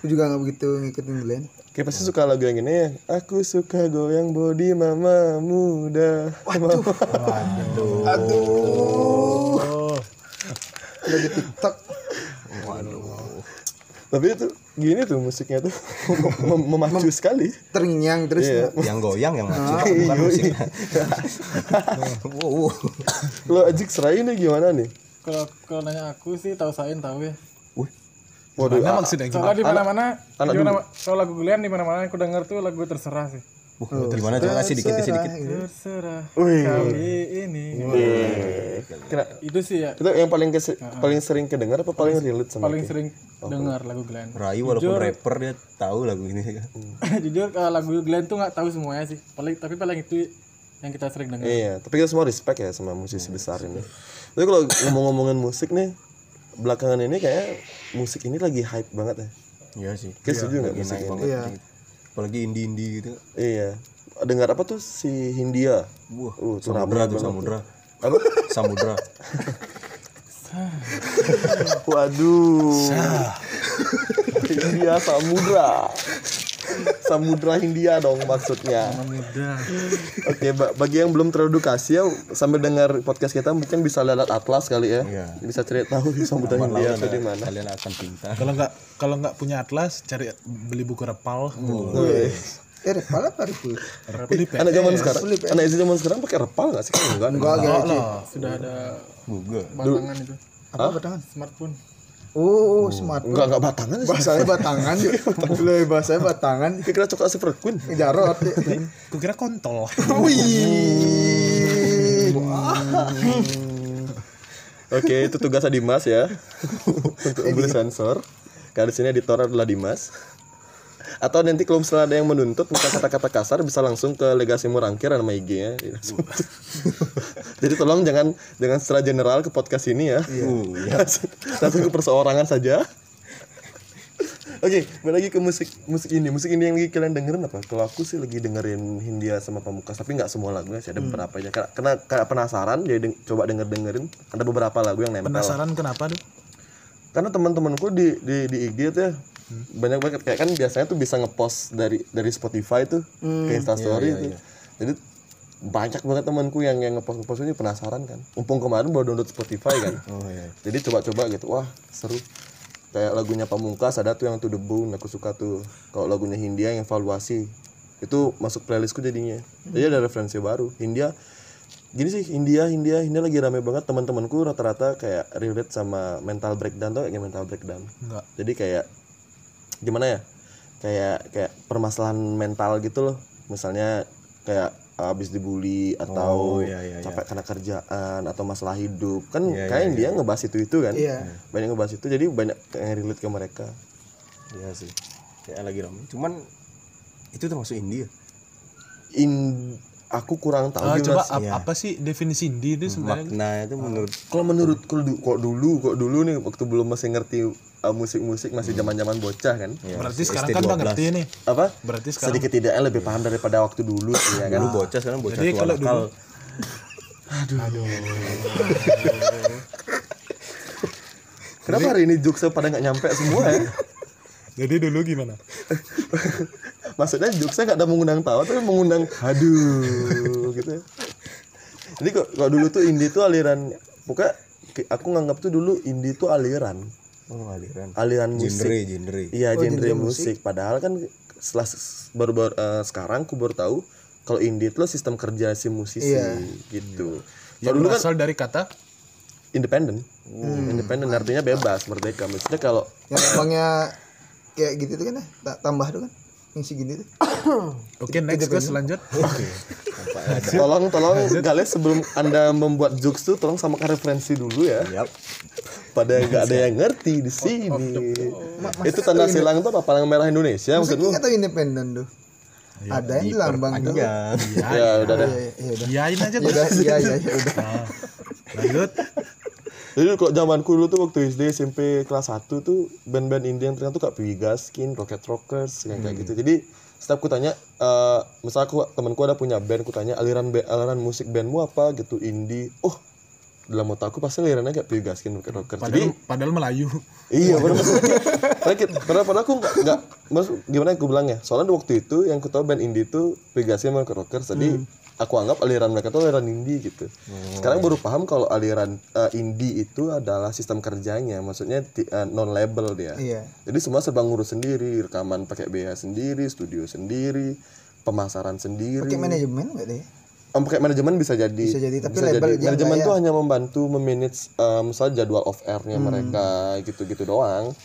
Aku juga nggak begitu ngikutin Glenn. Kayak pasti suka lagu yang gini ya. Aku suka goyang body mama muda. Waduh. Oh, Ada di TikTok. Tapi itu gini tuh musiknya tuh mem- memacu sekali. Terngiang terus. Yang goyang yang maju bukan musik. Wow. Lo Ajik Serai ini gimana nih? kalau kalau nanya aku sih tahu sain tahu ya Waduh, ah, nah maksudnya gimana? soalnya di mana mana Hmm. anak gimana kalau lagu Glenn di mana mana aku denger tuh lagu terserah sih Wah, gimana coba kasih dikit kasih dikit. terserah Wih. kali ini kena itu sih ya Itu yang paling kese- paling sering kedengar apa paling relate sama? paling sering dengar lagu Glenn Rai walaupun rapper dia tahu lagu ini. jujur kalau lagu Glenn tuh nggak tahu semuanya sih paling tapi paling itu yang kita sering dengar Iya, Nah. tapi kita semua respect ya sama musisi besar ini. Tapi kalau ngomong-ngomongin musik nih, belakangan ini kayak musik ini lagi hype banget ya. Iya sih. Iya. Kita setuju nggak musik Naik ini? banget. Iya. Apalagi indie-indie gitu. Iya. Dengar apa tuh si Hindia? Wah, Uh, tuh samudra tuh samudra. Apa? Samudra. Waduh. Hindia Samudra. Samudra Hindia dong maksudnya. Mudah. Oke, ba- bagi yang belum teredukasi ya sambil dengar podcast kita mungkin bisa lihat atlas kali ya. Iya. ya. Bisa cari tahu samudra Hindia itu di mana. Kalian akan pintar. Kalau nggak kalau nggak punya atlas, cari beli buku repal. Iya. Eh, kepala apa Riful? Repal di Anak zaman sekarang, anak SD zaman sekarang pakai repal Iya, eh. nggak sih? Enggak. Enggak, enggak. sudah ada Google. Eh, batangan itu Apa batangan? smartphone Oh, oh, smart. Enggak enggak batangan sih. Bahasanya batangan. Lebih bahasanya batangan. Kira-kira coklat super queen. Jarot. ya. Kukira kontol. Wih. Oke, itu tugasnya Dimas ya. Untuk beli sensor. Karena di sini editor adalah Dimas. Atau nanti kalau misalnya ada yang menuntut bukan kata-kata kasar bisa langsung ke legasi murangkir nama IG ya. Jadi tolong jangan jangan secara general ke podcast ini ya. langsung, langsung ke perseorangan saja. Oke, balik lagi ke musik musik ini. Musik ini yang lagi kalian dengerin apa? Kalau aku sih lagi dengerin Hindia sama Pamungkas, tapi nggak semua lagunya sih ada beberapa aja. Karena, karena karena penasaran, jadi deng- coba denger dengerin. Ada beberapa lagu yang nempel. Penasaran kenapa tuh? Karena teman-temanku di di di IG tuh ya, banyak banget kayak kan biasanya tuh bisa ngepost dari dari Spotify tuh ke Instastory tuh. Jadi banyak banget temanku yang yang ngepost ngepost ini penasaran kan mumpung kemarin baru download Spotify kan jadi coba-coba gitu wah seru kayak lagunya Pamungkas ada tuh yang To The Bone aku suka tuh kalau lagunya Hindia yang evaluasi itu masuk playlistku jadinya jadi ada referensi baru Hindia gini sih Hindia Hindia Hindia lagi rame banget teman-temanku rata-rata kayak relate sama mental breakdown tau gak kayak mental breakdown Enggak. jadi kayak gimana ya kayak kayak permasalahan mental gitu loh misalnya kayak abis dibully atau capek karena kerjaan atau masalah hidup kan kayak dia ngebahas itu itu kan Iya. banyak ngebahas itu jadi banyak yang relate ke mereka Iya sih. Kayak lagi ramai. Cuman itu termasuk India. in aku kurang tahu Ah, gimana coba sih. ap- apa sih definisi indie itu sebenarnya? Makna itu menurut kalau menurut kalau du- kok dulu kok dulu nih waktu belum masih ngerti uh, musik-musik masih zaman-zaman bocah kan Iya, Berarti sekarang kan udah ngerti nih. apa Berarti sekarang sedikit tidaknya lebih paham daripada waktu dulu sih ya kan dulu bocah sekarang bocah Jadi tua kalau nakal. Kenapa hari ini jokesnya pada nggak nyampe semua ya? Jadi dulu gimana? Maksudnya jokesnya nggak ada mengundang tawa tapi mengundang aduh gitu. ya. Jadi kok kalau dulu tuh indie tuh aliran pokoknya ki- aku nganggap tuh dulu indie tuh aliran, Oh, aliran. aliran musik. Genre, genre. Iya, genre musik. Padahal kan setelah s- baru, baru eh, sekarang aku baru tahu kalau indie itu loh sistem kerja si musisi gitu. Ya Kalau dulu kan berasal dari kata independen. Independen artinya bebas, merdeka. Maksudnya kalau yang abangnya kayak gitu tuh kan ya tak tambah tuh kan yang segini tuh Oke, next ke selanjut. Tolong tolong Gales sebelum Anda membuat jokes tuh tolong samakan referensi dulu ya. Yap. Pada nggak ada yang ngerti di sini. Itu tanda silang tuh apa palang merah Indonesia maksudmu? atau independen tuh ada yang di lambang tuh iya Ya udah deh. iya udah Iyain aja Ya tuh. udah iya iya iya udah Nah, lanjut. Jadi kok zamanku dulu tuh waktu SD SMP kelas 1 tuh band-band indie yang terkenal tuh kayak Piga Skin, Rocket Rockers kayak Hmm. kayak gitu. Jadi setiap ku tanya eh misal aku temanku ada punya band ku tanya aliran ba- aliran musik bandmu apa gitu indie. Oh, dalam otakku pasti alirannya kayak Piga Skin, Rocket Rockers. Jadi Padahal, padahal Melayu. Iya, benar. Sakit. Padahal padahal aku nggak nggak maksud gimana aku bilang ya? Soalnya waktu itu yang ku tahu band indie itu Pegasi sama Rocket Rockers. Jadi aku anggap aliran mereka tuh aliran indie gitu. Sekarang baru paham kalau aliran eh, indie itu adalah sistem kerjanya, maksudnya non label dia. iya Jadi semua serba ngurus sendiri, rekaman pakai biaya sendiri, studio sendiri, pemasaran sendiri. pakai manajemen nggak deh Em, pakai manajemen bisa jadi Bisa jadi, tapi label dia manajemen nggak ya? Hmm. tuh hanya membantu memanage em, misalnya jadwal off airnya mereka gitu-gitu doang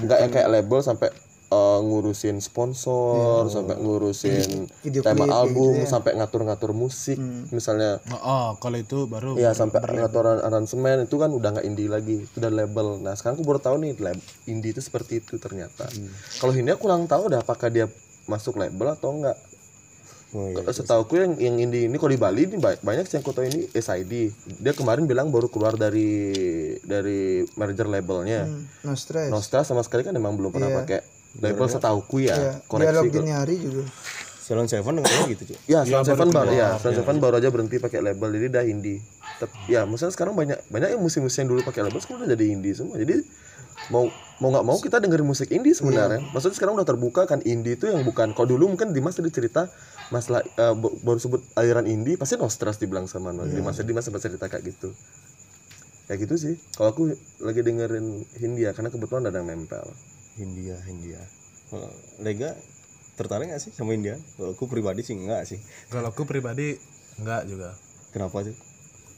nggak yang kayak label sampai eh, ngurusin sponsor sampai ngurusin Iya. Video klip, tema gitu ya. album sampai ngatur-ngatur musik Hmm. misalnya Nah, Oh, kalau itu baru Iya sampai pengaturan aransemen itu kan udah nggak indie lagi, itu udah label. Nah sekarang aku baru tahu nih lab, indie itu seperti itu ternyata. Kalau Hindia kurang tahu dah apakah dia masuk label atau enggak. Kalau setahu aku yang yang indie ini kalau di Bali ini ba- banyak sih yang aku tahu ini SID. Dia kemarin bilang baru keluar dari dari merger labelnya. Hmm. Hmm, no stress Nostra sama sekali kan emang belum pernah pakai label setahuku ya. ya dialog Koreksi kalau- dini hari juga Salon Seven dengarnya gitu, Cuk. Ya, Front Seven baru ya, Front Seven baru aja berhenti pakai label jadi dah indie. Tep- ya, maksudnya sekarang banyak banyak yang musik-musik yang dulu pakai label sekarang udah jadi indie semua. Jadi mau mau nggak mau kita dengerin musik indie sebenarnya. Maksudnya sekarang udah terbuka kan indie itu yang bukan kalau dulu mungkin Dimas tadi cerita masalah eh, bo- baru sebut aliran indie pasti nostras dibilang sama Mas Dimas Dimas sempat cerita kayak gitu. Ya gitu sih. Kalau aku lagi dengerin Hindia karena kebetulan ada yang nempel. India, India. Kalau Lega tertarik gak sih sama India? Kalau aku pribadi sih enggak sih. Kalau aku pribadi enggak juga. Kenapa sih?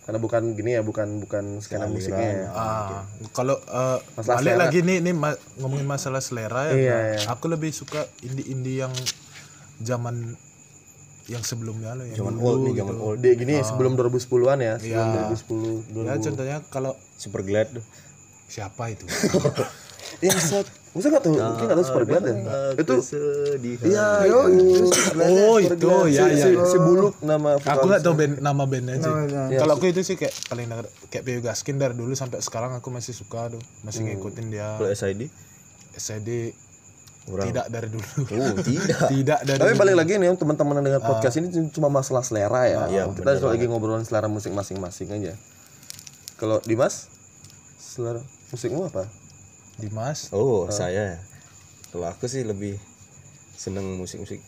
Karena bukan gini ya, bukan bukan skena musiknya. ya. Ah, kalau eh, Masalah balik selera. lagi nih nih ma- ngomongin masalah Iya, selera ya. Bro. iya. Aku lebih suka indie-indie yang zaman yang sebelumnya loh ya. Zaman dulu old nih, gitu. zaman old. Dia gini sebelum 2010-an ya, sebelum Iya. 2010. Ya contohnya kalau Super Glad tuh. siapa itu? Iya, set. Masa enggak tahu? Mungkin enggak tahu super glad Iya. ya? Itu sedih. iya, yo itu oh, itu ya si, ya. si- si buluk nama Aku vokalis. nggak tahu band, nama bandnya sih. Kalau aku itu sih kayak paling denger, kayak Piyu Gaskin dari dulu sampai sekarang aku masih suka tuh, masih ngikutin dia. Kalau SID? SID Kurang. tidak dari dulu. Oh, tidak. tidak dari Tapi balik lagi nih teman-teman yang dengar Ah. podcast ini cuma masalah selera ya. iya, Kita cuma lagi ngobrolin selera musik masing-masing aja. Kalau Dimas selera musikmu apa? Dimas. Ah. Oh, saya. Kalau aku sih lebih seneng musik-musik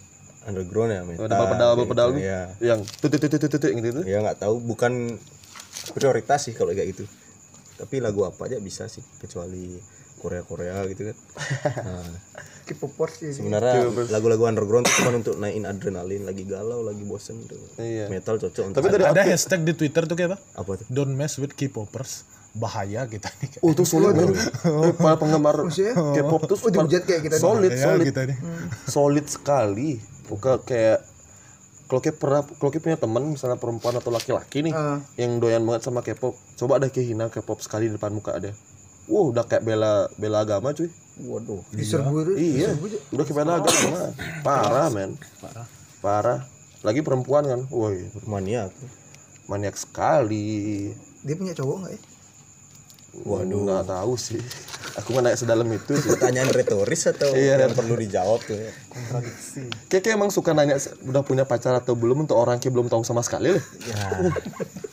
underground ya metal. Ah, Ada pedal pedal pedal nih Iya. yang tut tut tut tut tut gitu Iya. gitu. Ya nggak tahu bukan prioritas sih kalau kayak gitu. Tapi lagu apa aja bisa sih kecuali Korea-Korea gitu kan. Nah, K-popers sih. Iya, sebenarnya lagu-lagu underground tuh cuma untuk naikin adrenalin lagi galau, lagi bosen gitu. Iya. Metal cocok untuk Tapi dari Ada hashtag di Twitter tuh kayak apa? apa tuh? Don't mess with K-popers. Bahaya kita nih. Oh tuh solid men. Eh, Para penggemar K-pop tuh Oh, dihujat kayak kita nih. solid Bahaya solid kita nih. solid sekali. Buka kayak kalau kayak pernah kalau kayak punya teman misalnya perempuan atau laki-laki nih Ah. yang doyan banget sama K-pop, coba ada kehina K-pop sekali di depan muka ada. Wow, udah kayak bela bela agama cuy. Waduh, diserbu itu. Iya, udah kayak bela agama. Parah men. Parah. Parah. Lagi perempuan kan, woi Maniak. maniak sekali. Dia punya cowok nggak ya? Waduh, nggak tahu sih. Aku nggak naik sedalam itu sih. Pertanyaan retoris atau Iya, yang perlu dijawab tuh ya? Keke emang suka nanya se- udah punya pacar atau belum untuk orang yang belum tahu sama sekali loh.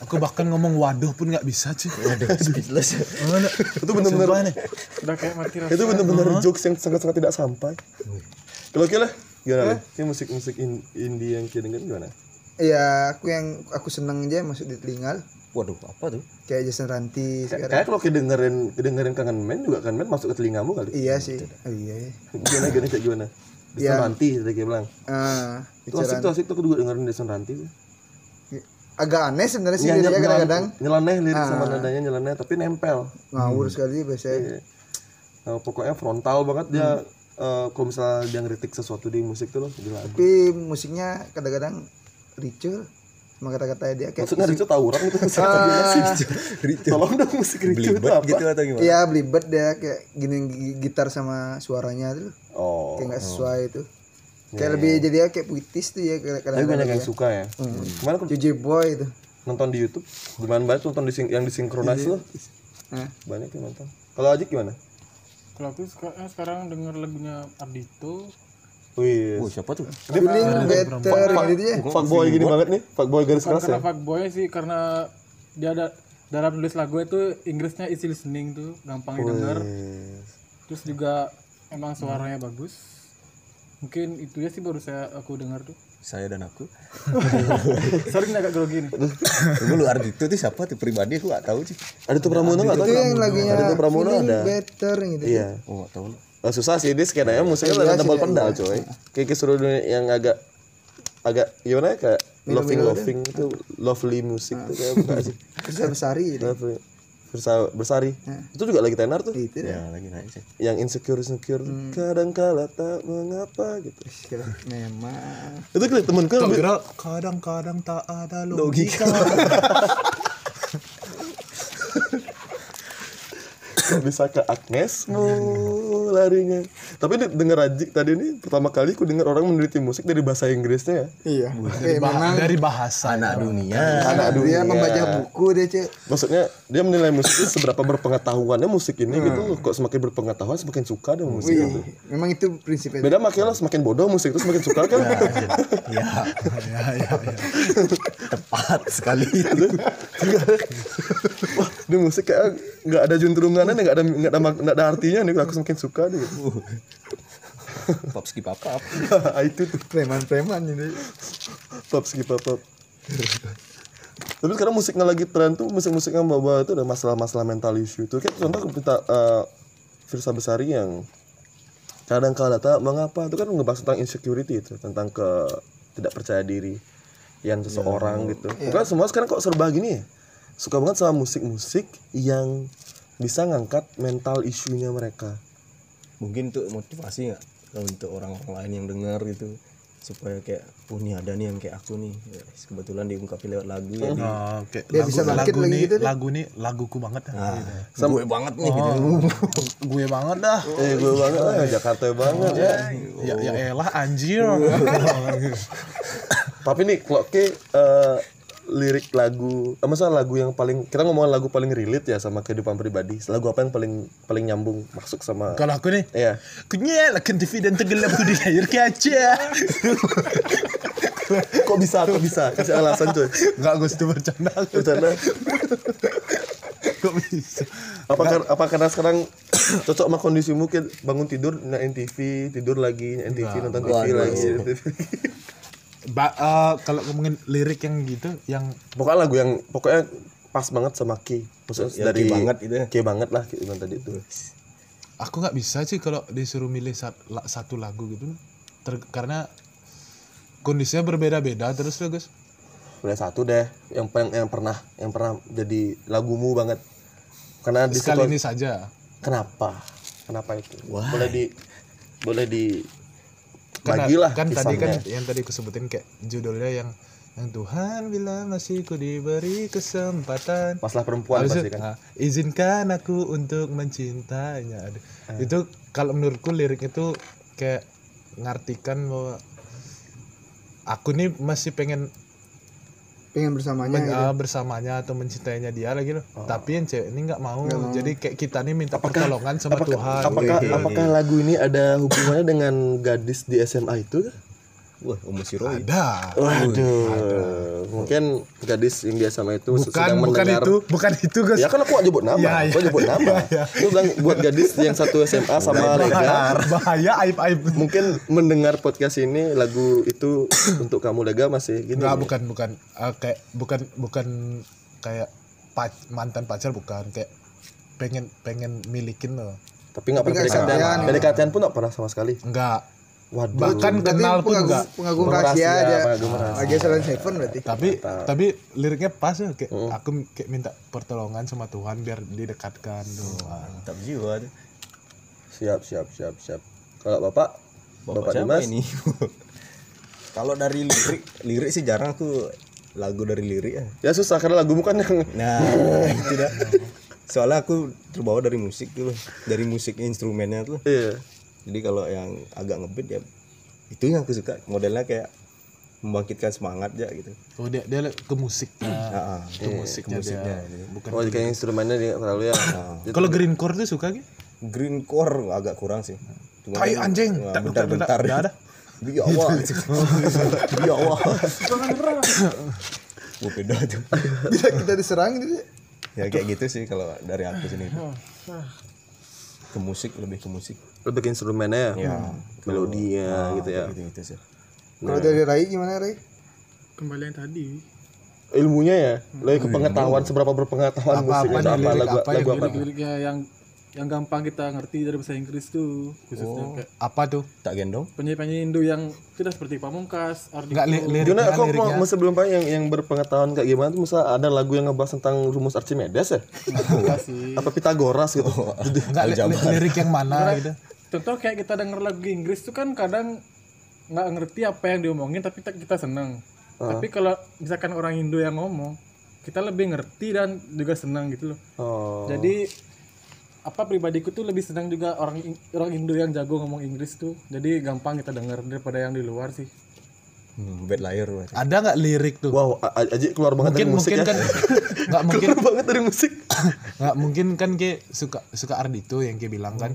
Aku bahkan ngomong waduh pun nggak bisa sih. Waduh, speechless. Itu bener-bener Udah kayak mati rasa. itu bener-bener Uh-huh. jokes yang sangat-sangat tidak sampai. Kalau Keke lah, gimana? Kayak musik-musik in- indie yang Keke dengerin gimana? Iya, aku yang aku seneng aja masuk di telinga lah. Waduh, apa tuh? kayak Jason Ranti Kayak sekarang. kayak kalau Keke dengerin dengerin kangen men juga kangen men masuk ke telingamu kali. Iya sih. Oh, iya. iya. Gimana gimana kayak gimana? Iya. Bisa Ya. nanti tadi Keke bilang. Ah, Itu asik bicara tuh asik tuh aku juga dengerin Deson Ranti sih. agak aneh sebenarnya sih Iya, Nyanyap- dia nyelan- kadang-kadang nyeleneh Ah. lirik sama nadanya nyeleneh tapi nempel. ngawur sekali biasanya. Eh, pokoknya frontal banget dia Hmm. eh, kalau misalnya dia ngeritik sesuatu di musik tuh loh gila. Tapi musiknya kadang-kadang ricu sama kata-kata dia kayak Maksudnya Rico tawuran gitu Maksudnya gimana sih? Tolong dong musik Rico itu Belibet apa? gitu atau gimana? Iya belibet dia kayak gini gi- gitar sama suaranya tuh Oh. kayak nggak sesuai itu. Kayak lebih jadi dia kayak puitis tuh ya Tapi kadang-kadang. banyak yang suka ya. Kemarin aku Juji Boy itu. nonton di YouTube, gimana banget nonton di sing- yang disinkronasi loh. Hah? Banyak yang nonton. Kalau Ajik gimana? Kalau aku suka- eh, sekarang denger lagunya Ardito. Wih. Oh, siapa tuh? Feeling better gitu ya. Fuckboy gini banget nih, fuckboy garis Bukan keras ya. karena fuckboy sih karena dia ada dalam nulis lagu itu Inggrisnya easy listening tuh gampang didengar. Iya. Terus juga emang suaranya bagus. Mungkin itu ya sih baru saya aku dengar tuh. Saya dan aku. Sorry ini agak grogi nih. Tunggu lu Ardito tuh siapa tuh pribadi aku nggak tahu sih. Ada tuh Pramono enggak tahu. Itu yang lagunya Ada tuh Pramono Feeling ada. Better gitu. Iya. Oh, nggak tahu. lu. Nah, susah Iya sih dia skenanya musiknya lebih tebal pendal coy. Kayak suruh dunia yang agak agak gimana ya, kayak loving loving itu lovely musik tuh kayak bukan sih. Besar besari gitu. Lovely. Bersa- bersari. Itu juga lagi tenar tuh. Gitu. Ya, lagi naik sih. Yang insecure insecure kadang kala tak mengapa gitu. Memang. Itu kayak temanku yang lebih- kadang-kadang tak ada logika. bisa ke Agnesmu larinya. Tapi di- denger Ajik tadi ini pertama kali aku denger orang meneliti musik dari bahasa Inggrisnya ya. Iya. Dari, bah- dari bahasa. Anak dunia. Anak dia iya. membaca buku dia cek. Maksudnya dia menilai musik itu seberapa berpengetahuannya musik ini gitu loh. Kok semakin berpengetahuan semakin suka dengan musik itu. Wih, memang itu prinsipnya. Beda makanya lo semakin bodoh musik itu semakin suka kan. Ya, ya, ya, ya. Tepat sekali itu. Wah, ini musik kayak nggak ada juntrungannya nih, nggak ada nggak ada mak- nggak ada artinya nih. Aku semakin suka nih. Gitu. Pop skip apa? itu tuh Preman-preman ini. pop skip pop. pop. Tapi sekarang musik yang lagi tren tuh musik-musik yang bawa itu ada masalah-masalah mental issue tuh. Kayak contoh kita eh Firsa Besari yang kadang kala tak mengapa itu kan ngebahas tentang insecurity itu tentang ke tidak percaya diri yang seseorang gitu bukan semua sekarang kok serba gini ya suka banget sama musik-musik yang bisa ngangkat mental isunya mereka Mungkin tuh motivasi nggak untuk orang-orang lain yang dengar gitu supaya kayak oh nih ada nih yang kayak aku nih Yes, kebetulan diungkapin lewat lagu ya di- Nah, kayak Dia lagu, bisa bangkit lagu lagi nih, gitu deh. lagu nih laguku banget dah. Ah. Gitu. gue banget nih gitu. Gue banget dah. eh gue banget ah, Jakarta banget ya Ya ya elah anjir. tapi nih kalau ke eh, lirik lagu eh, masa lagu yang paling kita ngomongin lagu paling relate ya sama kehidupan pribadi lagu apa yang paling paling nyambung masuk sama Kalau aku nih Iya. Kunyel akan TV dan tenggelam ku di air kaca. kok bisa kok bisa kasih alasan coy Enggak gue situ bercanda. Bercanda. Kok bisa? apa kar- apa karena sekarang cocok sama kondisi mungkin bangun tidur nyalain TV tidur lagi nyalain TV nonton TV lagi Ba- eh, kalau ngomongin lirik yang gitu yang Pokoknya lagu yang pokoknya pas banget sama Ki. Maksudnya Ya, dari key banget gitu ya. Ki banget lah kayak gimana tadi itu. aku nggak bisa sih kalau disuruh milih sat- la- satu lagu gitu Ter- karena kondisinya berbeda-beda terus lah guys Udah satu deh yang yang, yang pernah yang pernah jadi lagumu banget. Karena di sekali situ- ini saja kenapa? Kenapa itu? Boleh di boleh di Karena- bagilah kan tadi kan kisahnya. yang tadi aku sebutin kayak judulnya yang yang Tuhan bila masih ku diberi kesempatan Masalah perempuan Habis itu, pasti kan. ah, izinkan aku untuk mencintainya Aduh, Eh. itu kalau menurutku lirik itu kayak ngartikan bahwa aku nih masih pengen pengen bersamanya gitu. gitu. men- ah, bersamanya atau mencintainya dia lagi loh Oh. tapi yang cewek ini nggak mau jadi kayak kita nih minta pertolongan sama Tuhan Iya. Apakah Oke, oke, apakah lagu ini ada hubungannya dengan gadis di SMA itu? Wah, Om Siroid. ada Waduh, mungkin gadis yang di SMA itu bukan sedang bukan mendengar itu bukan itu guys Ya kan aku nggak nyebut nama, Ya, aku ya. nyebut nama. Ya, Lu bilang buat gadis yang satu SMA sama Lega, bahaya aib aib mungkin mendengar podcast ini lagu itu untuk kamu Lega masih gini. ya. Enggak, bukan bukan Eh, kayak bukan bukan kayak pac- mantan pacar bukan kayak pengen pengen milikin loh. Tapi nggak pernah pendekatan. Pendekatan pun nggak pernah sama sekali. Enggak. Waduh. Bahkan Berarti kenal pun pengagum, enggak. pengagum Pengagum rahasia rahasia, aja Ah. pengagum rahasia. aja selain seven berarti Tapi tapi liriknya pas ya kayak Hmm. aku kayak minta pertolongan sama Tuhan biar didekatkan Ah. doang. Mantap jiwa tuh. Siap, siap, siap, siap. Kalau Bapak, Bapak, Bapak, siapa Dimas, ini? Kalau dari lirik, lirik sih jarang aku lagu dari lirik ya. ya susah karena lagumu kan yang Nah, itu dah. Soalnya aku terbawa dari musik tuh, dari musik instrumennya tuh. iya. Jadi kalau yang agak ngebeat ya itu yang aku suka modelnya kayak membangkitkan semangat aja gitu. Oh dia dia ke musiknya. Heeh. ke musiknya, dia. Bukan. Oh, kayak instrumennya dia nggak terlalu ya. Jadi Kalau greencore tuh suka gitu? Green core agak kurang sih. Cuma Tai anjing. Nah, Tak- tak- bentar-bentar. ya tak- tak ada. Biar awal. Biar awal. Gua beda tuh. bila kita diserang gitu Ya kayak gitu sih kalau dari aku sini. Ke musik lebih ke musik. Hmm. Oh, lebih ke instrumennya Iya. ya. Nah. Melodinya gitu ya. Gitu-gitu sih. kalau Iya. dari Rai gimana Rai Kembali yang tadi. Ilmunya ya, lebih ke Iya. pengetahuan seberapa berpengetahuan musik itu apa lagu lagu apa. Liriknya yang yang gampang kita ngerti dari bahasa Inggris tuh khususnya kayak Apa tuh? Tak gendong. penyanyi-penyanyi Indo yang tidak seperti Pamungkas, Ardi Enggak li- lirik. Gimana aku ya. mau mau sebelum Pak yang yang berpengetahuan kayak gimana tuh masa ada lagu yang ngebahas tentang rumus Archimedes ya? sih. Apa Pitagoras gitu. Enggak li- li- lirik yang mana gitu. Contoh kayak kita denger lagu Inggris tuh kan kadang nggak ngerti apa yang diomongin tapi te- kita seneng. Tapi kalau misalkan orang Indo yang ngomong, kita lebih ngerti dan juga senang gitu loh. Oh. Jadi apa pribadiku tuh lebih senang juga orang In- orang Indo yang jago ngomong Inggris tuh. Jadi gampang kita denger daripada yang di luar sih. Hmm, bad liar. Wak. Ada nggak lirik tuh? Wow, A- A- Aji keluar banget mungkin dari musik mungkin ya. gitu. kan nggak mungkin Keluar banget dari musik. nggak mungkin kan kayak suka suka Ardito yang kayak bilang kan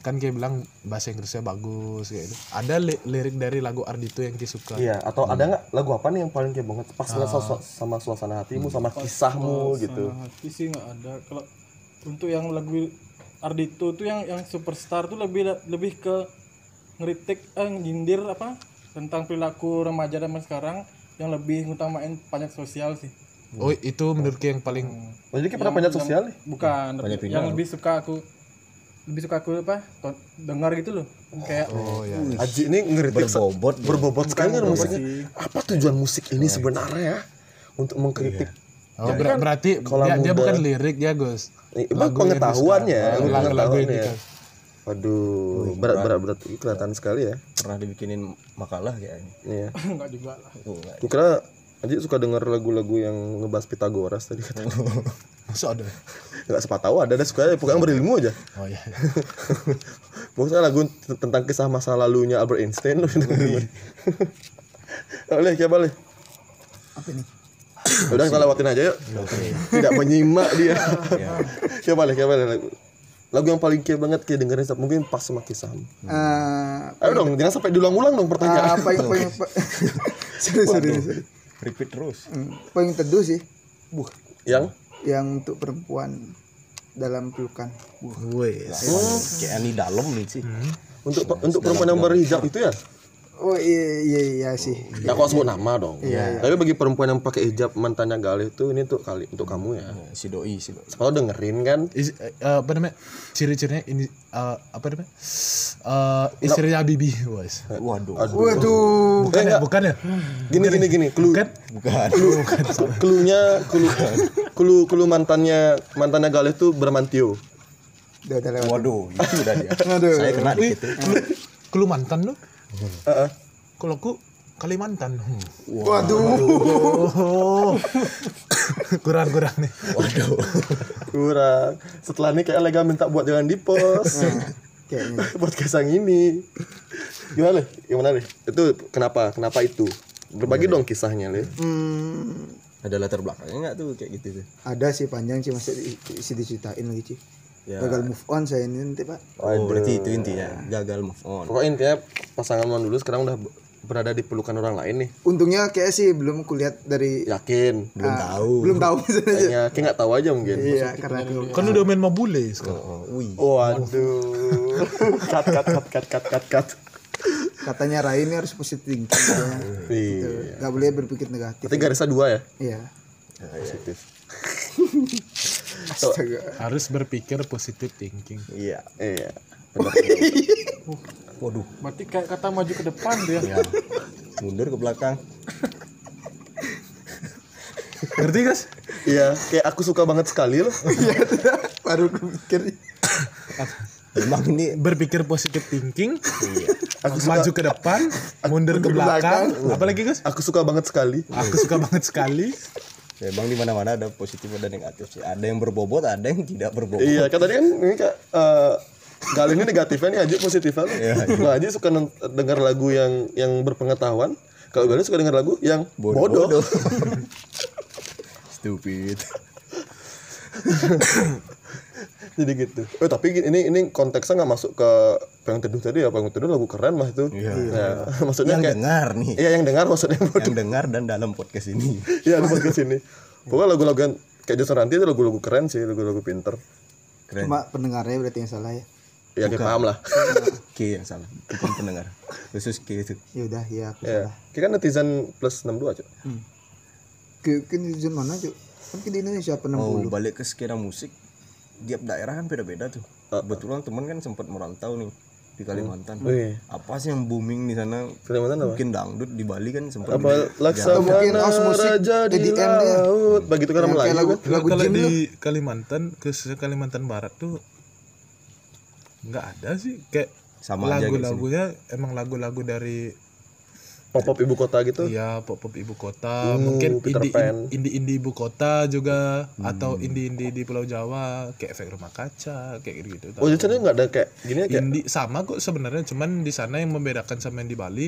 kan kayak bilang bahasa Inggrisnya bagus kayak gitu. Ada li- lirik dari lagu Ardito yang kayak suka. Iya, atau ada nggak lagu apa nih yang paling kayak banget pas sama- sama suasana hatimu, sama kisahmu gitu. Nah, hati sih nggak ada. Kalau untuk yang lagu Ardito tuh yang yang superstar tuh lebih lebih ke ngeritik eh nyindir apa tentang perilaku remaja zaman sekarang yang lebih ngutamain pajak sosial sih. Oh itu menurutku yang paling Oh, jadi kayak pernah panjat sosial nih. Bukan yang lebih suka aku lebih suka aku apa to- dengar gitu loh. Kayak Aji ini ngeritik se- Berbobot. berbobot sekali kan musiknya. Apa tujuan musik ini sebenarnya? ya? Untuk mengkritik Oh, ber- berarti dia, dia bukan lirik ya Gus. Eh, emang pengetahuannya, Oh, ilmu lagu-lagu ini pengetahuannya. kan. Waduh, berat berat berat Ini kelihatan sekali ya. Pernah dibikinin makalah kayaknya. Iya. enggak juga lah. Oh, nggak. Gue kira Aji suka denger lagu-lagu yang ngebahas Pitagoras tadi kata. Masa ada? Enggak sepatah ada ada suka ya, pokoknya berilmu aja. Oh iya. Pokoknya lagu t- tentang kisah masa lalunya Albert Einstein loh. Iya. Oleh, coba boleh. Apa nih? Udah kita lewatin aja yuk. Iya, Tidak menyimak dia. Coba boleh, coba boleh lagu. Lagu yang paling kaya banget kayak dengerin setiap- mungkin pas sama kisahmu. Hmm. Eh, Ayo dong, jangan sampai diulang-ulang dong ah, pertanyaan. paling paling pa- sorry sorry sorry Repeat terus. Hmm, paling teduh sih buh Yang yang untuk perempuan dalam pelukan Wes. Kayak ini dalam nih sih. Hmm. untuk untuk perempuan yang berhijab itu ya? Oh iya iya iya sih. Nggak kok sebut nama dong. Tapi bagi perempuan yang pakai hijab mantannya Galih itu ini tuh kali untuk kamu ya. Eh, si doi si doi Kalau dengerin kan Is- eh, apa namanya ciri-cirinya ini eh, apa namanya Eh, istrinya Bibi guys waduh Waduh. bukan ya bukan ya Eh, gini gini gini clue Bukan. bukan cluenya clue clue clue mantannya mantannya Galih tuh Bramantio. Udah udah lewat. waduh itu udah dia saya kena dikit tuh. Kalimantan lu kalau aku Kalimantan Hmm. Waduh. oh kurang kurang nih Kurang. Setelah ini kayak Lega minta buat jangan di pos. Hmm. Kayaknya. buat kesang ini. Gimana? Le? Gimana deh? Itu kenapa? Kenapa itu? Berbagi dong kisahnya, Le. Hmm, ada latar belakangnya nggak tuh kayak gitu tuh ada sih panjang sih masih di- isi diceritain lagi sih. Ya. Gagal move on saya ini nanti pak. oh berarti itu intinya gagal move on Pokoknya intinya pasangan man dulu sekarang udah berada di pelukan orang lain nih. Untungnya kayak sih belum kulihat dari Yakin. belum ah, tahu Iya, Belum tahu sebenarnya. Kayaknya kayak nggak tahu aja mungkin. Iya karena belum. kan udah main mabule sekarang Oh, wih Waduh. cut cut cut cut cut cut cut. Katanya Rai ini harus positif thinking katanya. Iya. Gak boleh berpikir negatif. Berarti garisnya dua ya? Iya. Positif. Astaga. harus berpikir positive thinking iya Iya. waduh Berarti kayak kata maju ke depan tuh ya. mundur ke belakang ngerti guys Iya, kayak aku suka banget sekali loh. iya. Baru berpikir. memang ini berpikir positive thinking Aku suka, maju ke depan mundur ke belakang apalagi guys aku suka banget sekali. aku suka banget sekali memang di mana mana ada positif dan negatif sih ada yang berbobot ada yang tidak berbobot Iya, kan tadi kan ini kak eh Galih ini negatifnya nih Aji positifnya. loh. Nah, Aji suka nent- dengar lagu yang yang berpengetahuan. Kalau Galih suka dengar lagu yang bodoh. bodoh stupid Jadi gitu. Eh tapi gini- ini ini konteksnya nggak masuk ke pengen teduh tadi ya pengen teduh lagu keren mas itu. Iya. Nah, maksudnya yang kayak dengar nih iya yang dengar maksudnya yang dengar dan dalam podcast ini Iya di podcast ini. Pokoknya lagu-lagu yang kayak Jason Ranti itu lagu-lagu keren sih, lagu-lagu pinter. keren Cuma pendengarnya berarti yang salah ya. Ya kayak paham lah. K yang salah bukan pendengar khusus K itu Ya udah ya aku Ya. salah. Kayak kan netizen plus 62 aja. Ke ke netizen mana cuy? Kan ke di Indonesia apa mau 60? Oh, balik ke skena musik tiap daerah kan beda-beda tuh kebetulan temen kan sempat merantau nih di Kalimantan Wih. apa sih yang booming di sana Kalimantan apa? mungkin dangdut di Bali kan sempat Apa mungkin laksamana osmosis raja di EDM dia. laut. Begitu kan Yang Melayu. kayak lagu kan? lagu kalau Jin tuh. di Kalimantan khususnya Kalimantan Barat tuh nggak ada sih kayak gitu Sama aja gitu. kayak lagu-lagunya emang lagu-lagu dari Pop-pop ibu kota gitu. ya pop pop ibu kota mungkin Hmm, Peter indie Pan. Hmm. indie indie ibu kota juga atau indie indie di Pulau Jawa kayak efek rumah kaca kayak gitu Oh, jadi caranya nggak ada kayak gini ya kayak Indie sama kok sebenarnya cuman di sana yang membedakan sama yang di Bali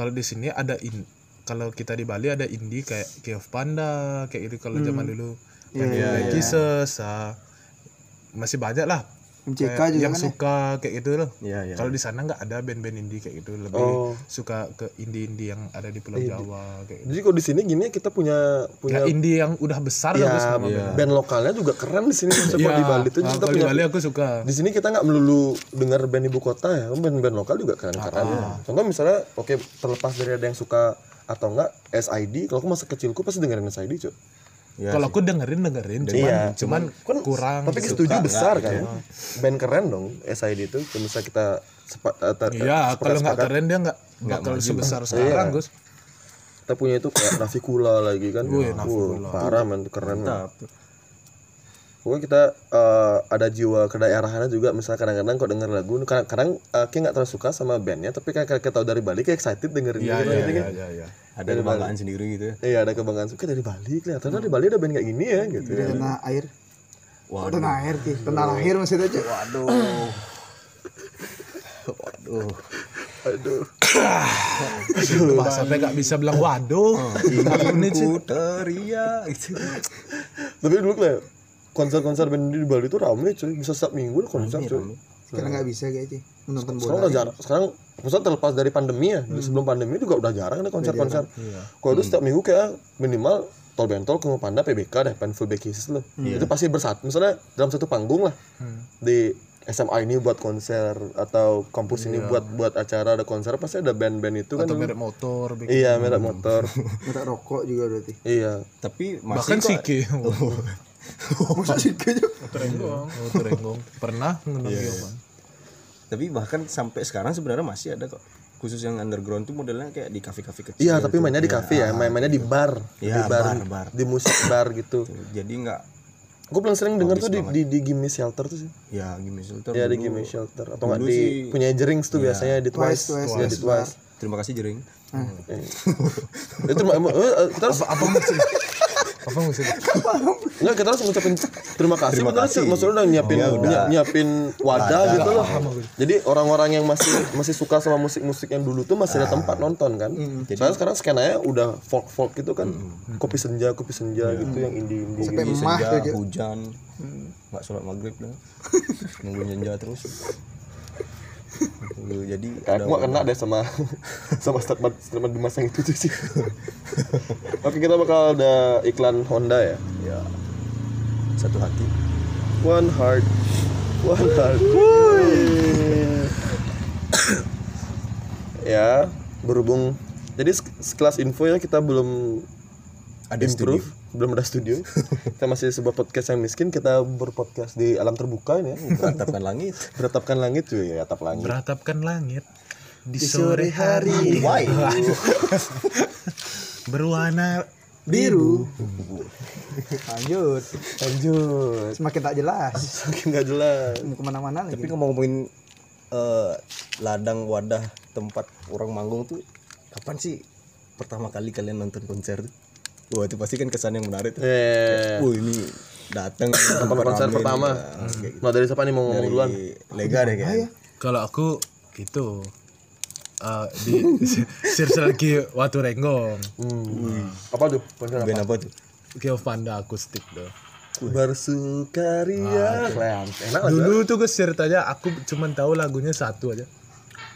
kalau di sini ada in kalau kita di Bali ada indie kayak Geoff Panda kayak Hmm. gitu kalau zaman dulu Iya, Vanilla Kisses ah, masih banyak lah MCK kayak juga yang kan ya? suka kayak gitu loh Iya, iya. kalau di sana nggak ada band-band indie kayak gitu lebih Oh. suka ke indie-indie yang ada di Pulau Jawa kayak gitu. jadi kalau di sini gini ya kita punya Nah, iya, punya indie yang udah besar ya, loh Gus, nama bandnya. band lokalnya juga keren di sini. Coba di Bali tuh ah, kita kalau di punya Bali aku suka. di sini kita nggak melulu dengar band ibu kota ya band-band lokal juga keren keren Ah. contoh misalnya oke terlepas dari ada yang suka atau enggak SID kalau aku masa kecilku pasti dengerin SID cuy kalau aku dengerin dengerin cuman Iya. cuman kan kurang tapi gitu. setuju besar kan band keren dong SID itu kalau misalnya kita sepa, eh, ter- Iya, sepakat- kalau nggak sepakat, keren dia nggak bakal sebesar Iya. sekarang, Gus. kita punya itu kayak Navikula lagi kan Wih, Wah, Oh, iya, Navikula. parah man itu keren man. Pokoknya kita eh, ada jiwa kedaerahannya juga misalnya kadang-kadang kok denger lagu kadang, kadang eh, kayak nggak terlalu suka sama bandnya tapi kayak kayak tahu dari Bali kayak excited dengerin Iya, gitu, iya, gitu kan. iya, iya, iya. ada kebanggaan sendiri gitu ya Iya ada kebanggaan suka dari Bali kelihatan dari Bali ada band kayak gini ya gitu. Iya. Di tanah air. Waduh. Tanah air sih. Tanah air maksudnya cuy. waduh waduh Aduh. Wah, sampai nggak bisa bilang waduh. Ini ingin ku teriak gitu. Tapi dulu kayak konser-konser band di Bali itu rame cuy bisa setiap minggu ada konser cuy. Sekarang nggak bisa kayak sih. Menonton bola. Sekarang udah jarang. Sekarang maksudnya terlepas dari pandemi ya. Dulu Sebelum pandemi juga udah jarang iya. Hmm. ada konser-konser. Kalau itu setiap minggu kayak minimal Tol Bentol, Kung Iya. Hmm. Panda, PBK deh, Painful Back Kisses loh. Itu pasti bersatu. Misalnya dalam satu panggung lah. Di SMA ini buat konser atau kampus ini buat buat acara ada konser pasti ada Iya. band-band itu kan atau dulu. merek motor bikin- iya merek motor minta rokok juga berarti iya tapi bahkan masih kok Oh. sike masa sih kayaknya terenggong Oh, motor terenggong pernah ngundang Giyoman. tapi bahkan sampai sekarang sebenarnya masih ada kok khusus yang underground tuh modelnya kayak di kafe-kafe kecil gitu. iya tapi mainnya di kafe ya main-mainnya di bar Iya, di bar, bar, bar. di musik bar gitu jadi nggak gue paling sering denger tuh di, di di Gimme Shelter tuh sih ya gimmick shelter Iya di dulu. Gimme Shelter atau nggak Dulu di sih- iya. punya Jerings tuh biasanya di Twice, Twice, Iya, di Twice. terima kasih jering Iya. itu ma- ma- eh, eh, kita harus apa, apa maksudnya enggak kita harus ngucapin terima kasih Terima beneran sih. kasih. maksudnya udah nyiapin Ya, udah. nyi- nyiapin wadah Wadah. Iya, gitu loh jadi orang-orang yang masih masih suka sama musik-musik yang dulu tuh masih ada tempat nonton kan Jadi- soalnya sekarang skenanya udah folk folk gitu kan kopi senja kopi senja Iya. gitu yang indie indie sampai Ini emah iya, senja, kayak gitu. hujan Hmm. nggak sholat maghrib dah nunggu senja terus Dulu, jadi Kayak ada aku gak kena deh sama sama statement statement Dimas yang itu sih. Oke kita bakal ada iklan Honda ya. ya satu hati One heart, one heart. ya berhubung jadi se- sekelas info ya kita belum ada improve studio belum ada studio kita masih sebuah podcast yang miskin kita berpodcast di alam terbuka ini ya beratapkan langit beratapkan langit cuy ya atap langit beratapkan langit di sore hari Iya. why berwarna biru lanjut lanjut semakin tak jelas makin gak jelas mau kemana-mana tapi Iya. lagi ngomongin eh, ladang wadah tempat orang manggung tuh kapan sih pertama kali kalian nonton konser tuh wah itu pasti kan kesan yang menarik tuh eh wah ini datang Nonton konser pertama. Nah dari siapa nih mau ngomong duluan? lega deh kayaknya ya? kalau aku gitu eh, di Sirse lagi Watu Renggong Apa tuh? Konser apa? band apa tuh Kio Panda akustik tuh Bersukaria. Enak Ah, lah. dulu tuh gue ceritanya aku cuman tahu lagunya satu aja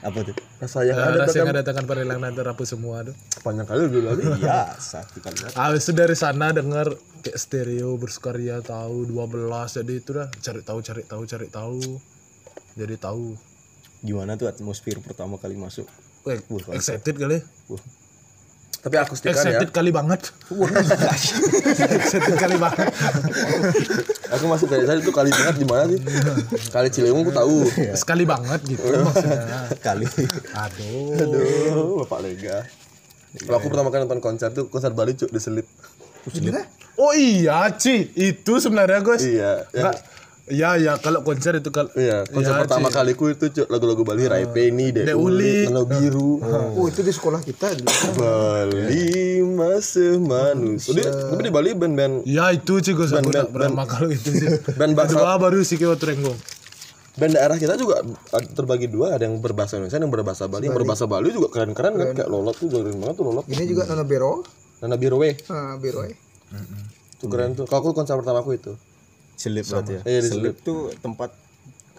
apa tuh Rasa Oh, yang Eh, ada rasa yang bahkan ada tangan perilang nanti rapuh semua tuh panjang kali dulu lagi. ya satu kalimat Habis itu dari sana denger kayak stereo bersukaria tahu 12 jadi itu dah cari tahu cari tahu cari tahu jadi tahu gimana tuh atmosfer pertama kali masuk Weh, Wah, excited kali Wah, Tapi akustikan ya. excited kali banget excited kali banget Aku masih dari tadi tuh kali banget di mana sih? Kali Ciliwung aku tahu. sekali banget gitu Ah. maksudnya kali aduh Aduh, Bapak Lega. Kalau aku pertama kali nonton konser tuh konser Bali cuk di Selip. oh iya Ci itu sebenarnya guys Iya. yang- Nggak, ya ya kalau konser itu kalau Iya, konser Iya, pertama kaliku itu cuk lagu-lagu Bali Raipeni, Dek Ah. Dek Uli, Uli. Kalau Biru. oh itu di sekolah kita dulu Bali masih manusia. Iya, Jadi, tapi di Bali band-band ya itu Ci gue Band- sebut band- pertama kali itu sih band bakso. kedua baru sih kita terenggong band daerah kita juga ad- terbagi dua ada yang berbahasa Indonesia ada yang berbahasa Bali yang berbahasa Bali juga keren-keren kan kayak lolot tuh keren banget tuh lolot ini juga Nona Bero Nana Birowe Ah, Bero eh. tuh keren tuh kalau aku konser pertama aku itu selip berarti ya Iya, di selip tuh tempat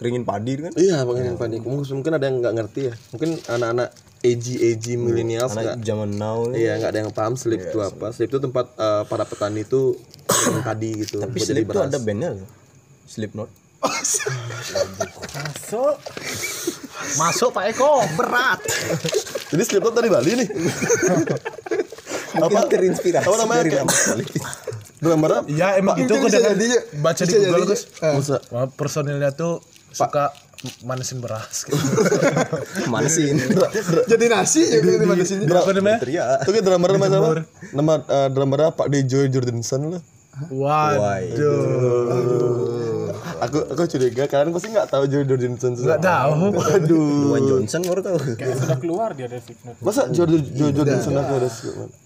keringin padi kan iya pengen panik mungkin mungkin ada yang nggak ngerti ya mungkin anak-anak AG AG millennials nggak anak zaman now nih iya nggak ada yang paham slip itu apa slip itu tempat eh, para petani itu kering padi gitu buat tapi jadi selip tuh beras ada bandnya loh selip not masuk Pak Eko berat jadi slip itu dari Bali nih apa terinspirasi apa namanya dari kayak- nama selip gambarnya Ya emang gitu aku bisa dengan jadi, Cuk. baca di Bisa Google jadi, guys. masa Wah, personilnya tuh suka manisin beras. Gitu. mana sih ini jadi nasi juga di mana sini Apa namanya? ya. teriak itu kayak drummer namanya siapa nama eh, drummernya Pak Dejo Jordanson lah iya. Waduh. Oh. aku aku curiga kalian pasti nggak tahu Joe Jordanson Gak tahu. Waduh. Dwayne Johnson baru tahu Kayak sudah keluar dia dari Slipknot. Masa Joe Joe Jordanson aku ada segala macam?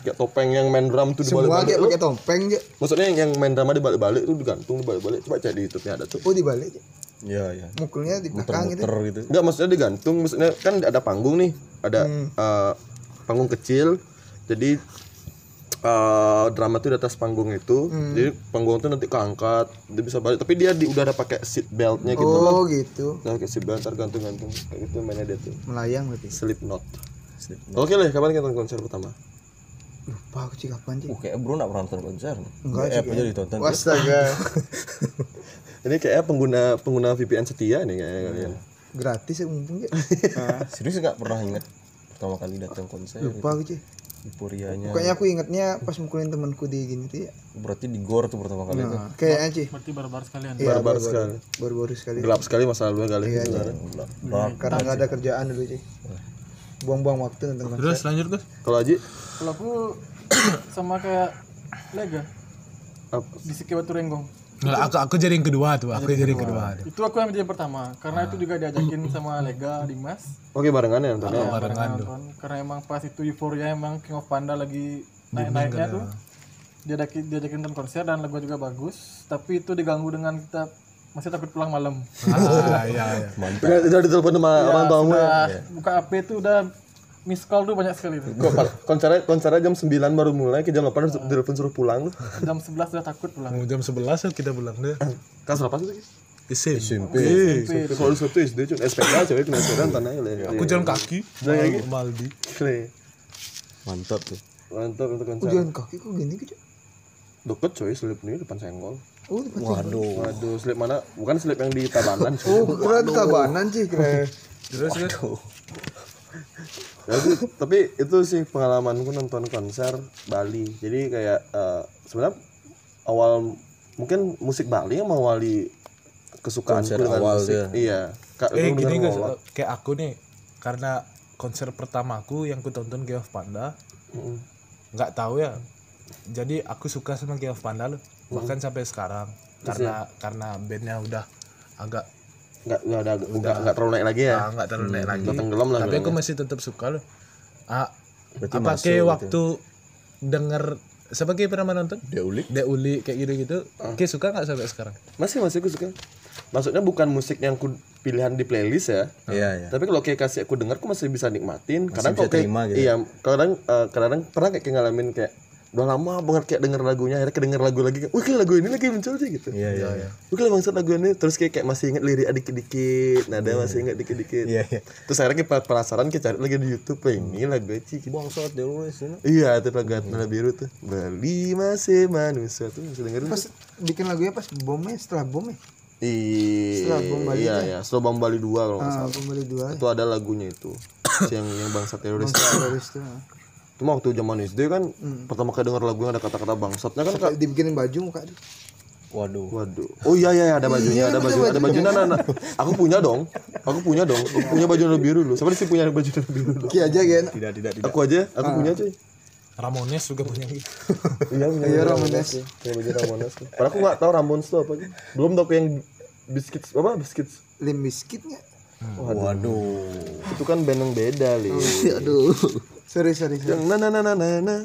Kayak topeng yang main drum tuh semua dibalik-balik. kayak lu. pakai topeng aja Maksudnya yang, yang main drama dibalik-balik tuh digantung dibalik-balik. Coba cek di YouTube-nya ada tuh. oh dibalik Cuk. ya ya mukulnya di belakang gitu muter-muter gitu Enggak maksudnya digantung, maksudnya kan ada panggung nih, ada Hmm. eh, panggung kecil. Jadi eh, drama tuh di atas panggung itu. Hmm. Jadi panggung tuh nanti keangkat, dia bisa balik. Tapi dia di, udah ada pakai seat beltnya gitu oh loh. gitu Nah, pakai seat belt tergantung-gantung kayak gitu mainnya dia tuh. melayang berarti Slipknot. Slip. Oke lah, kapan kita nonton konser pertama? lupa aku sih kapan sih ya. Uh, kayak bro nggak pernah nonton konser Enggak Eh, apa aja ditonton astaga Ini kayaknya pengguna pengguna VPN setia nih kayaknya kalian. Gratis ya mumpung ya. Hmm. Ah, Serius nggak pernah ingat pertama kali datang konser Lupa aku cuy. euforianya. Pokoknya aku ingatnya pas mukulin temanku di gini Nah, tuh ya. Berarti di gor tuh pertama kali itu. Kayaknya cuy. Berarti barbar sekalian. Iya, Barbar sekali. Baru-baru sekali. Gelap sekali masa lalu kali. Iya, sebenarnya. Bang, Karena nggak ada kerjaan dulu cuy. Buang-buang waktu nonton konser. Terus lanjut Gus. Kalau Aji Kalau aku sama kayak Lega Apa? di Sekiwatu Renggong. Nggak, aku aku jadi yang kedua tuh, aku jadi yang kedua. Itu aku yang menjadi pertama karena itu juga diajakin sama Lega Dimas. Oke barengan ya nontonnya. Ya, barengan nonton. Karena emang pas itu euforia emang King of Panda lagi naik-naiknya tuh. Diajakin diajakin nonton konser dan lagu juga bagus, tapi itu diganggu dengan kita masih takut pulang malam. Ah, iya, iya. Udah, udah ditelepon sama orang tuamu ya. Udah buka HP itu udah miss call tuh banyak sekali tuh. Gua pal- konsernya konsernya jam 9 baru mulai ke jam 8 udah telepon suruh pulang lu. Jam 11 udah takut pulang. Mau jam 11 ya kita pulang deh. Kelas berapa sih? Isim. SMP. Kalau lu Sabtu SD cuy, SPK cewek kena sekarang tanah ya. Aku jalan kaki. Mal- Maldi. Keren. mantap tuh. Mantap untuk konser. Jalan kaki kok gini cuy. Deket coy selip ini depan senggol. Oh, di Pati- Waduh. Waduh, selip mana? Bukan selip yang di Tabanan cuy. Oh, kira di Tabanan sih kira. Terus terus. Ya, sih, tapi itu sih pengalamanku nonton konser Bali. Jadi kayak eh, sebenarnya awal mungkin musik Bali yang mengawali kesukaanku Konser dengan awal musik. dia. Iya. Kak, lu Eh gini denger guys, ngolak. kayak aku nih karena konser pertamaku yang ku tonton King of Panda. Nggak tahu ya. Jadi aku suka sama King of Panda loh. Bahkan sampai sekarang karena karena bandnya udah agak nggak nggak ada nggak nggak terlalu naik lagi ya. ah, nggak terlalu naik lagi. Nggak tenggelam lah. Tapi aku bilangnya. masih tetap suka loh. Ah, apa kayak waktu denger siapa kayak pernah nonton? Deulik. Dek Uli kayak gitu-gitu. Kayak suka nggak sampai sekarang? masih masih aku suka. Maksudnya bukan musik yang ku pilihan di playlist ya. Iya, iya. Tapi kalau kayak kasih aku denger aku masih bisa nikmatin. kadang bisa kok kayak terima gitu. iya, kadang eh, kadang pernah kayak ngalamin kayak udah lama banget kayak denger lagunya akhirnya kedenger lagu lagi kayak, wih kayak lagu ini lagi muncul sih gitu Iya, iya. iya. Bukan lah bangsat lagu ini terus kayak, kayak masih inget lirik dikit-dikit, nada masih inget dikit-dikit. Iya, iya. Terus akhirnya kayak penasaran kita cari lagi di YouTube "Wah, ini lagu Eci. Bangsat dia lu di sana. Iya, itu lagu Atmana Biru tuh. Bali masih manusia tuh masih dengerin. Pas bikin lagunya pas bomnya setelah bomnya. Iya, setelah Bom Bali iya, iya. Setelah Bom Bali 2 kalau nggak Ah, salah. pembeli dua. Itu ada lagunya itu. Si yang yang bangsa teroris. Terus tuh. ah. Cuma waktu zaman SD kan pertama kali denger lagu yang ada kata-kata bangsatnya kan Kak, Sampai dibikinin baju muka tuh. Waduh. Waduh. Oh iya iya ada bajunya, ada bajunya, ada bajunya. Nah, nah, nah. Aku punya dong. Aku punya dong. Aku punya baju warna biru loh. Siapa sih punya baju warna biru? Loh? Ki aja kan. Tidak, tidak, tidak. Aku aja, aku punya cuy. Ramones juga punya gitu. Ah. Iya punya. Iya Ramones. Punya baju Ramones. tuh. Padahal aku nggak tahu Ramones itu apa. sih. Belum tahu aku yang biscuit apa biscuit Lim Bizkit nggak? Waduh. itu kan band yang beda Nah, li. Aduh. Sorry sorry. sorry. Yang na na na na na na. nah.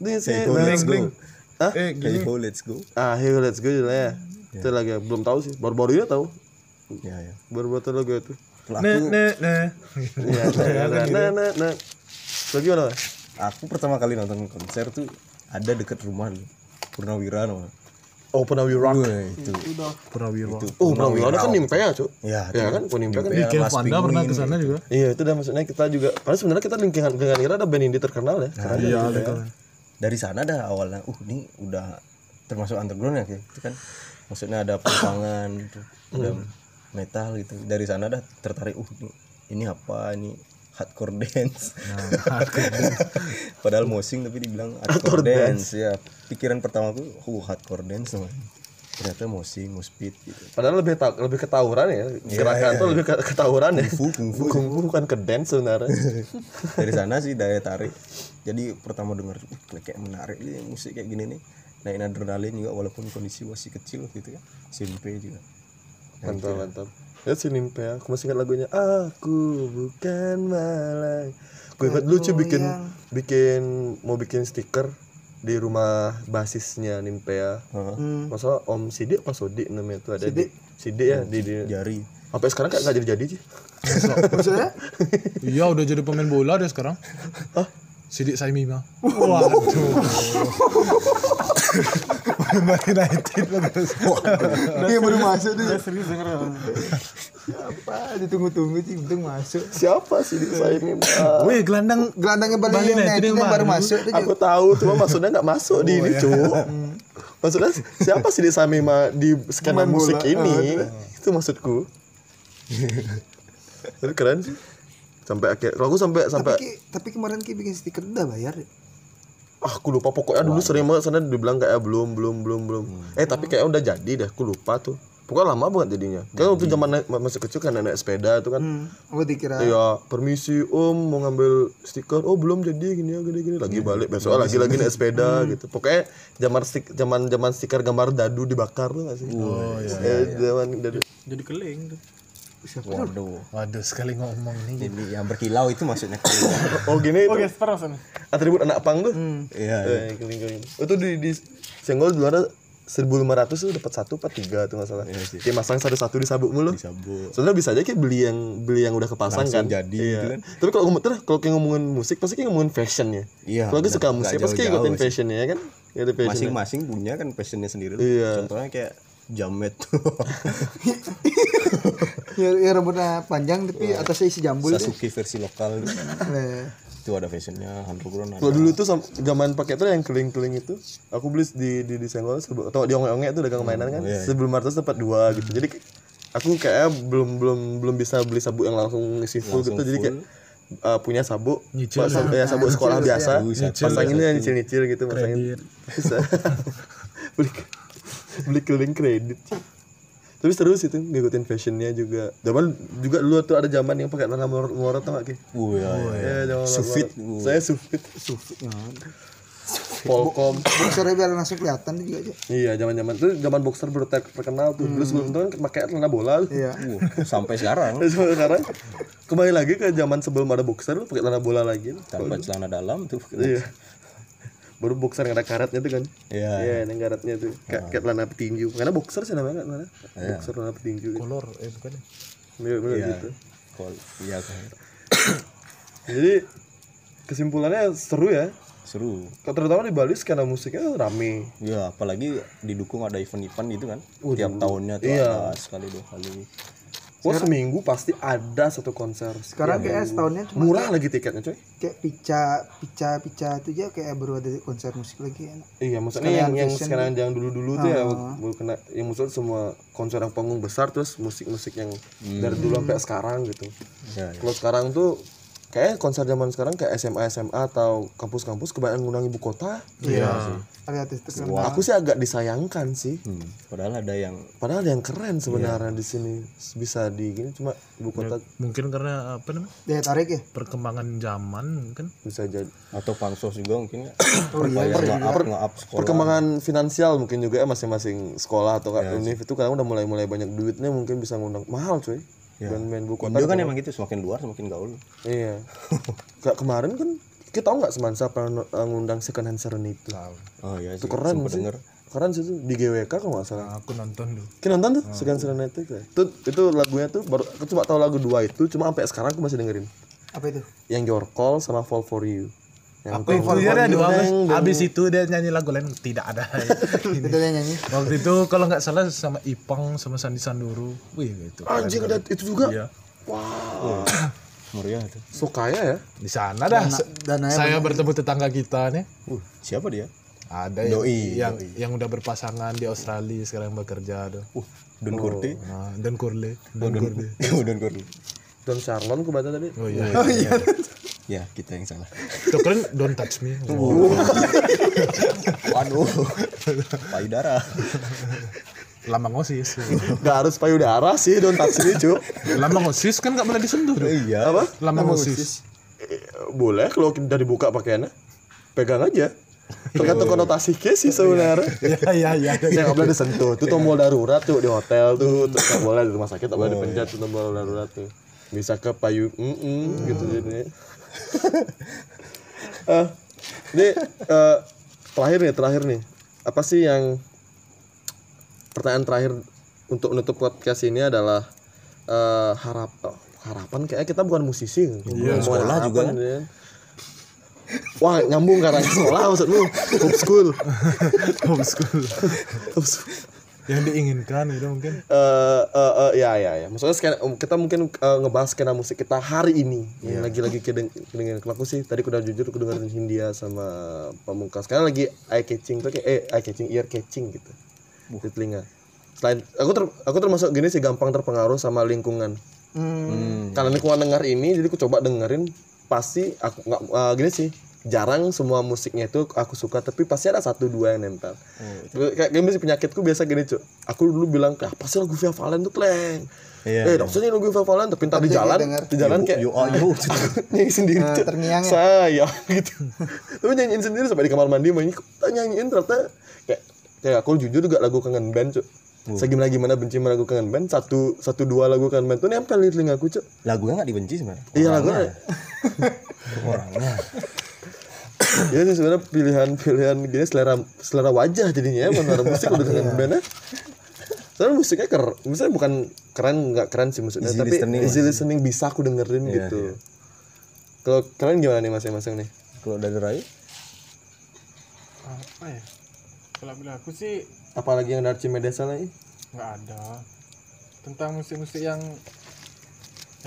This is let's go. Hah? Eh, Hey gini. ho, let's go. Ah, here let's go judulnya. Itu lagi belum tahu sih. Baru-baru ini tahu. Ya, ya. Baru-baru tahu lagu itu. Ne ne ne. Iya. nah, Nah nah nah. Lagi mana? Aku pertama kali nonton konser tuh ada deket rumah lu. Purnawira namanya. Oh, Penawi Rock. Wah, itu. Purnawira. Oh, Prawira kan Nimpea, Cuk. Ya, ya kan, pun Nimpea kan. Nimpea. King of Mas Panda pernah ke sana juga. Iya, itu dah maksudnya kita juga. Padahal sebenarnya kita lingkungan lingkungan kita ada band indie terkenal ya. Keren. Iya, Dari sana dah awalnya, uh ini udah termasuk underground ya, kayak gitu kan. Maksudnya ada perkembangan, tuh, ada metal gitu. Dari sana dah tertarik, uh ini, ini apa, ini hardcore dance. Padahal mosing tapi dibilang Nah, hardcore, dance. ya. Pikiran pertamaku, uh hardcore dance namanya. Ternyata mosing, mospit gitu. Padahal lebih ta- lebih ketawuran ya. Gerakan tuh lebih ke- ketawuran ya. Kungfu, kungfu. Kungfu bukan ke dance sebenarnya. dari sana sih daya tarik jadi pertama denger "Wih, kayak menarik nih musik kayak gini nih naik adrenalin juga walaupun kondisi masih kecil waktu itu kan SMP juga mantap, mantap. Ya si Nimpea, aku masih ingat lagunya. Aku bukan malang. Gue ingat dulu cuy bikin bikin mau bikin stiker di rumah basisnya Nimpea. Masalah Om Sidik apa Sodik namanya itu ada Hmm. Sidik. Sidik ya di, di jari sampai sekarang kayak nggak jadi-jadi sih. Maksudnya? Iya, udah jadi pemain bola dia sekarang. Hah? Sidik Saimima. Waduh. Pemain United lah terus. Dia baru masuk tuh. Serius denger ya? Apa? Ditunggu-tunggu sih, untung masuk. Siapa sih saya ini? Ah, Wih, gelandang Gelandangnya Bali Bali United United yang yang baru baru. masuk tuh. Oh, iya. Hmm. aku tahu, cuma maksudnya nggak masuk di ini, Cuk. Maksudnya siapa sih di Samima di skena Main bola. musik ini? Ah, itu maksudku. Itu keren sih. Sampai akhir. Kalau aku sampai sampai Tapi Ki, tapi kemarin Ki bikin stiker udah bayar. ya? ah aku lupa pokoknya dulu sering banget sana dibilang kayak belum belum belum belum. Hmm. Eh tapi kayak udah jadi dah, aku lupa tuh. Pokoknya lama banget jadinya. Kan waktu zaman naik- masih kecil kan naik sepeda tuh kan. Hmm. Apa dikira? Iya, permisi om mau ngambil stiker. Oh belum jadi gini ya gini gini. Lagi balik besok lagi lagi naik sepeda gitu. Pokoknya zaman stik zaman zaman stiker gambar dadu dibakar tuh nggak sih? Oh iya. Zaman dadu. Jadi keling tuh. Waduh. Waduh sekali ngomong nih. Jadi yang berkilau itu maksudnya. Oh gini itu Oke, sekarang sana. atribut anak pang tuh. Iya. Eh, keling-keling. Itu di di senggol di luar 1500 tuh dapat satu apa tiga tuh nggak salah. Dia masang satu-satu di sabuk mulu. Iya Sabuk. Sebenarnya bisa aja kayak beli yang beli yang udah kepasang Langsung kan. jadi Iya. gitu kan. Tapi kalau ngomong terus kalau kayak ngomongin musik pasti kayak ngomongin fashion ya. Iya, Kalau aku benar. suka Nggak musik pasti kayak jauh-jauh ikutin sih. fashion ya kan. Ya ada fashion. Masing-masing punya kan passionnya sendiri. Iya. Contohnya kayak jamet tuh. Ya, ya rambutnya panjang tapi atasnya isi jambul. ya? deh. Sasuke versi lokal Nah, itu ada fashionnya underground ada. Kalau dulu tuh sam- zaman pakai tuh yang keling-keling itu, aku beli di di, di senggol sebelum atau di onge-onge itu dagang mainan kan. Sebelum Martes dapat dua gitu. Jadi kayak- aku kayaknya belum belum belum bisa beli sabuk yang langsung isi full gitu. Jadi kayak uh, punya sabuk, Nyicil Pak, sab- ya, sabuk sekolah biasa, Nyicil, pasanginnya nyicil-nyicil gitu, pasangin. Bisa. beli beli keling kredit. Tapi seru sih itu ngikutin fashionnya juga. Zaman juga dulu tuh ada zaman yang pakai tanah melorot-melorot tau gak Ki? Wuh, ya, ya. Ya, zaman Sufit. melorot. Saya sufit. ya. Polkom. Boxernya biar langsung kelihatan juga aja. Iya, zaman-zaman itu zaman boxer baru ter- terkenal tuh. Terus sebelum Hmm. itu kan pakai celana bola. Terus Iya. Wuh, sampai sekarang sekarang kembali lagi ke zaman sebelum ada boxer lu pakai celana bola lagi. tanpa celana dalam tuh. Iya. Baru boxer yang ada karetnya tuh kan. Iya. Iya, yang karetnya tuh. Ah. Kayak kayak celana petinju. Karena boxer sih namanya kan celana. Boxer celana petinju. Iya. Kolor eh bukan. ya. Mirip mirip Iya. gitu. Kol- Iya kan. Jadi kesimpulannya seru ya. Seru. Kalau Terutama di Bali skena musiknya rame. Ya, apalagi didukung ada event-event gitu kan. Tiap tahunnya tuh ada sekali dua kali. Wah seminggu pasti ada satu konser. Sekarang kayak setahunnya cuma Murah lagi tiketnya coy. kayak pica pica pica itu aja kayak baru ada konser musik lagi enak. Iya, maksudnya yang yang sekarang yang dulu-dulu tuh ya baru kena yang maksudnya semua konser yang panggung besar terus musik-musik yang dari dulu sampai sekarang gitu. Ya, Kalau sekarang tuh kayak konser zaman sekarang kayak SMA SMA atau kampus-kampus kebanyakan ngundang ibu kota. Ada artis terkenal. Aku sih agak disayangkan sih. Hmm, Padahal ada yang Padahal ada yang keren sebenarnya di sini bisa di gini cuma ibu kota Mungkin karena apa namanya? Daya tarik ya. Perkembangan zaman kan? mungkin. bisa jadi atau pansos juga mungkin ya. Oh iya. Bayar nge-up nge-up sekolah. perkembangan finansial mungkin juga ya masing-masing sekolah atau kayak univ itu kadang udah mulai-mulai banyak duitnya mungkin bisa ngundang mahal cuy. Dan main ibu kota Indo kan emang gitu semakin luar semakin gaul. Iya. Kayak kemarin kan kita tahu nggak semansa pernah uh, ngundang second hand serenity itu. Oh iya Itu sih. keren sempet sih. denger. Keren sih itu di GWK kalau nggak salah. Aku nonton dulu. Kita nonton tuh second hand serenity itu. ya? itu. Itu lagunya tuh baru aku cuma tahu lagu dua itu cuma sampai sekarang aku masih dengerin. Apa itu? Yang Your Call sama Fall for You. Yang Aku Oh, iya, ada dua abis, abis itu dia nyanyi lagu lain tidak ada. Itu dia nyanyi. Waktu itu kalau nggak salah sama Ipang sama Sandi Sandoro. Wih gitu. anjing ada itu juga. Iya. Meriah tuh. So kaya ya. Di sana dah. Dana- se- dananya saya bertemu tetangga kita nih. Uh, siapa dia? Ada yang, Doi, yang, yang udah berpasangan di Australia sekarang bekerja tuh. Uh, Don Corte. Nah, dan Kurle. Don Corte. Don Corte. Don Charlon aku baca tadi. Oh iya. Ya, kita yang salah. Itu keren Don't Touch Me. Waduh. Payudara. Lama ngosis. Gak harus payudara sih Don Taxi cu. Lama ngosis kan nggak boleh disentuh tuh. Iya. Apa? Lama ngosis. Eh, Boleh kalau udah dibuka pakaiannya. Pegang aja. Tergantung konotasi case sih sebenarnya. Iya iya iya. Yang nggak boleh disentuh tuh tombol darurat tuh di hotel tuh terus nggak boleh di rumah sakit nggak Oh, boleh iya. dipencet tuh tombol darurat tuh bisa ke payu mm -mm, gitu jadinya Eh, ini eh, terakhir nih terakhir nih apa sih yang pertanyaan terakhir untuk menutup podcast ini adalah eh, harap oh, harapan kayaknya kita bukan musisi kan? Bukan Iya, sekolah harapan, juga kan? gitu kan. Wah nyambung karena sekolah maksud lu homeschool Homeschool. Homeschool. yang diinginkan gitu mungkin eh eh, eh, ya ya ya maksudnya skena- kita mungkin eh, ngebahas skena musik kita hari ini yang lagi-lagi kedeng kedengeran aku sih tadi aku udah jujur aku dengerin Hindia sama Pamungkas karena lagi eye catching tuh kayak eh eye catching ear catching gitu di telinga selain aku ter, aku termasuk gini sih gampang terpengaruh sama lingkungan hmm, karena lingkungan dengar ini jadi aku coba dengerin pasti aku nggak eh, gini sih jarang semua musiknya itu aku suka tapi pasti ada satu dua yang nempel kayak gini sih penyakitku biasa gini cuy aku dulu bilang kayak apa sih lagu Via Valen tuh kleng Iya, eh maksudnya lagu Via Valen tapi ntar di jalan di jalan kayak you are you nyanyi sendiri tuh. terngiang ya. saya gitu tapi nyanyiin sendiri sampai di kamar mandi nyanyi nyanyiin ternyata kayak kayak aku jujur juga lagu kangen band cuy segimana gimana benci sama lagu kangen band satu satu dua lagu kangen band tuh nempel di telingaku cuy Lagunya nggak dibenci sebenarnya. iya lagu ya sih sebenarnya pilihan-pilihan gini selera selera wajah jadinya ya menurut musik udah dengan Iya. band ya. Soalnya musiknya keren, misalnya bukan keren nggak keren sih maksudnya, Easy tapi listening ya. Iya, easy listening bisa aku dengerin gitu. Kalau kalian gimana nih masing-masing nih? Kalau dari Rai? apa ya kalau bilang aku sih Apalagi yang dari Cimedesa lagi? nggak ada tentang musik-musik yang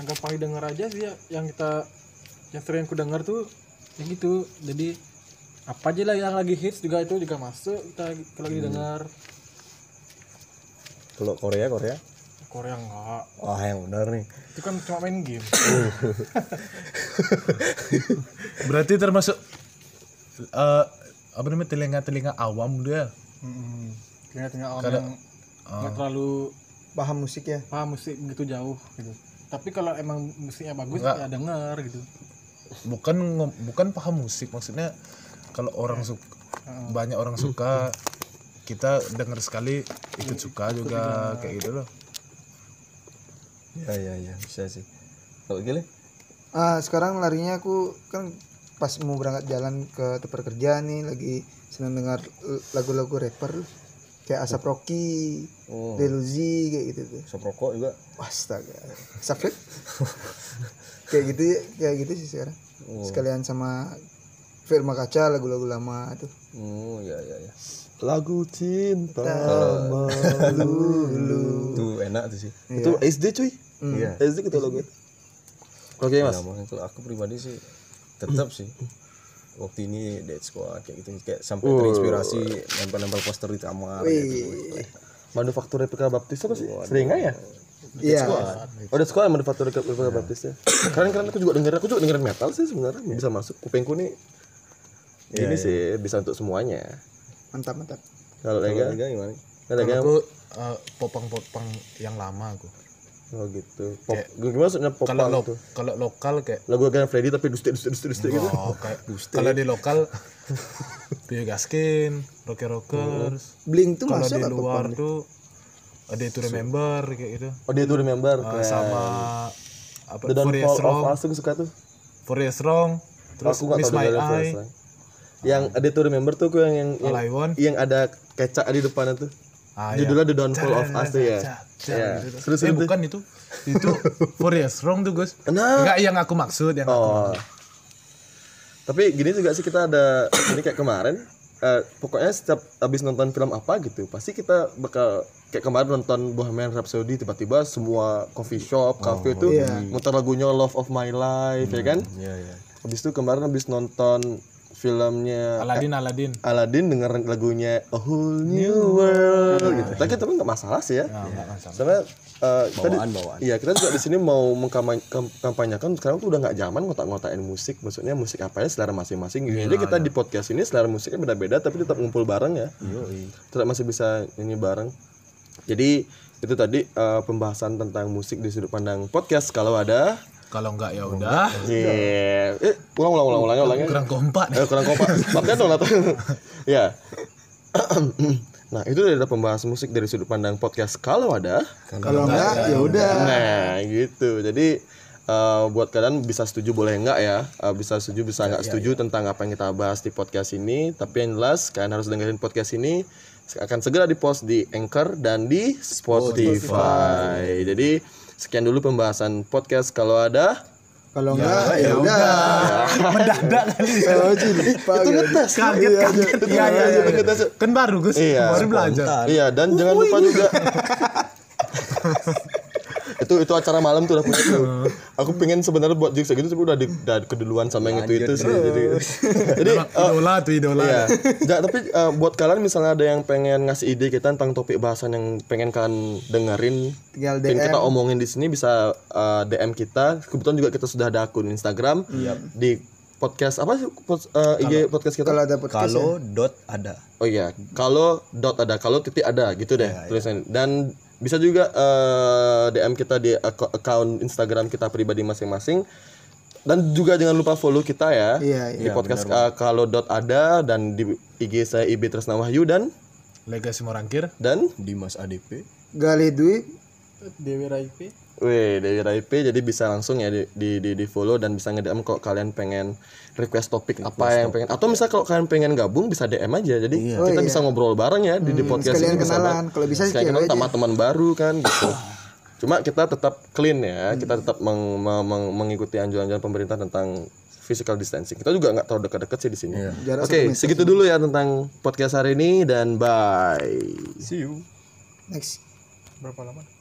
yang gampang didengar aja sih ya yang kita yang sering aku dengar tuh yang gitu jadi apa aja lah yang lagi hits juga itu juga masuk kita kalau lagi dengar Kalau Korea Korea? Korea enggak Wah yang benar nih. itu kan cuma main game berarti termasuk eh apa namanya telinga-telinga awam dia kayaknya tengah Hmm. orang yang nggak terlalu paham musik ya paham musik begitu jauh gitu tapi kalau emang musiknya bagus ya denger gitu bukan ngom- bukan paham musik maksudnya kalau orang suka banyak orang suka kita dengar sekali ikut suka juga kayak gitu loh Iya iya iya bisa sih. Kalau gile? ah sekarang larinya aku kan pas mau berangkat jalan ke tempat kerja nih lagi seneng dengar eh, lagu-lagu rapper kayak Asap Rocky, Oh. Deluzi kayak gitu tuh. Sop rokok juga. Astaga. Saplek. kayak gitu ya, kayak gitu sih sekarang. Sekalian sama Firma Kaca lagu-lagu lama tuh. Oh iya iya iya. Lagu cinta Tuh enak tuh sih. itu SD cuy, Iya. SD kita lagu. Oke mas, Ya, makanya kalau aku pribadi sih tetap sih waktu ini dead squad kayak gitu kayak sampai terinspirasi nempel-nempel poster di kamar gitu. manufaktur Replika Baptis apa sih? Sering nggak ya? Iya. Oh, udah sekolah manufaktur Replika Replika Baptis ya. Keren keren aku juga denger, aku juga dengerin metal sih sebenarnya. Iya. Bisa masuk kupingku nih. Ini sih bisa untuk semuanya. Mantap mantap. Kalau Kalau lega, Liga gimana? lega aku eh, popang-popang yang lama aku Oh gitu. Pop, gimana maksudnya pop kalau lo- punk tuh? kalau lokal kayak Lagu Grand Freddy tapi dustik dustik dustik dustik gitu. oh kayak kalau di lokal Tio Gaskin, Rocker Rockers, Bling Oh, tuh kalau masuk di nggak pop luar tuh A Day to Remember kayak gitu Oh dia tuh remember. Eh, sama apa The For Yes Downfall of Wrong, Us tuh aku suka tuh. For Yes Wrong, terus aku nggak Miss tahu My dengerin Eye, Forest Lang. yang ada tuh remember tuh aku yang yang yang, All I Want, yang ada kecak di depannya tuh Ah, iya. judulnya The Downfall of Us tuh ya Ca- ca- Iya. gitu. Seru, seru eh, tuh. bukan itu itu for yes wrong tuh Gus Nah. enggak yang aku maksud yang oh aku tapi gini juga sih kita ada ini kayak kemarin eh, pokoknya setiap habis nonton film apa gitu pasti kita bakal kayak kemarin nonton Bohemian Rhapsody tiba-tiba semua coffee shop cafe tuh muter lagunya Love of My Life ya kan Hmm. Iya iya. habis itu kemarin habis nonton filmnya Aladin Aladin Aladdin denger lagunya A Whole New World gitu. Tapi tapi nggak masalah sih ya. Soalnya eh, kita di- Bawaan, bawaan. Iya, kita juga di sini mau mengkampanyekan sekarang tuh udah nggak zaman ngotak-ngotakin musik. Maksudnya musik apa ya selera masing-masing. Gini aja kita di podcast ini selera musiknya beda-beda tapi tetap ngumpul bareng ya. Tetap masih bisa ini bareng. Jadi itu tadi eh, pembahasan tentang musik di sudut pandang podcast kalau ada. kalau enggak ya Oh, udah Yeah. Eh, ulang ulang ulang ulang ulang. kurang kompak Eh, kurang kompak. Maafkan dong Nato. ya. nah, itu ada pembahas musik dari sudut pandang podcast kalau ada. Kalau enggak ya udah. Nah, gitu. Jadi eh, buat kalian bisa setuju boleh enggak ya? Eh, bisa setuju bisa Iya, enggak setuju tentang apa yang kita bahas di podcast ini, tapi yang jelas kalian harus dengerin podcast ini akan segera di-post di Anchor dan di Spotify. Jadi sekian dulu pembahasan podcast kalau ada Kalau enggak ya, udah. mendadak kali ya. Itu ngetes. kaget kaget iya iya iya kan baru Gus Iya, baru belajar Iya, dan jangan lupa juga. itu itu acara malam tuh udah punya tuh. Aku pengen sebenarnya buat jokes gitu tapi udah di, udah keduluan sama yang itu itu sih. Jadi, jadi eh, idola tuh idola iya. Ja, tapi eh, buat kalian misalnya ada yang pengen ngasih ide kita tentang topik bahasan yang pengen kalian dengerin, Tinggal pengen DM. kita omongin di sini bisa eh, DM kita. Kebetulan juga kita sudah ada akun Instagram di podcast apa sih pod- eh, IG podcast kita? Kalau ada podcast ya. Kalau dot ada. Oh iya, kalau dot ada, kalau titik ada gitu Iya, deh tulisannya. Dan bisa juga eh, DM kita di ak- account Instagram kita pribadi masing-masing. Dan juga jangan lupa follow kita ya Iya, di podcast eh, kalau dot ada dan di IG saya IB Tresna Wahyu dan legasi morangkir dan Dimas ADP. Gali Dwi Dewi Raipi Weh, dari Raip jadi bisa langsung ya di di di, di follow dan bisa nge-DM kalau kalian pengen request topik apa yang pengen atau misal kalau kalian pengen gabung bisa DM aja jadi Oh, ya. kita iya. Hmm, bisa ngobrol bareng ya di, di podcast sekalian ini bisa kenalan. bareng. Kalau bisa sih sekalian cewek kenalan sama teman baru kan gitu cuma kita tetap clean ya kita tetap meng- meng- meng- mengikuti anjuran-anjuran pemerintah tentang physical distancing kita juga nggak terlalu dekat-dekat sih di sini Jarak oke segitu dulu ya tentang podcast hari ini dan bye See you. next berapa lama?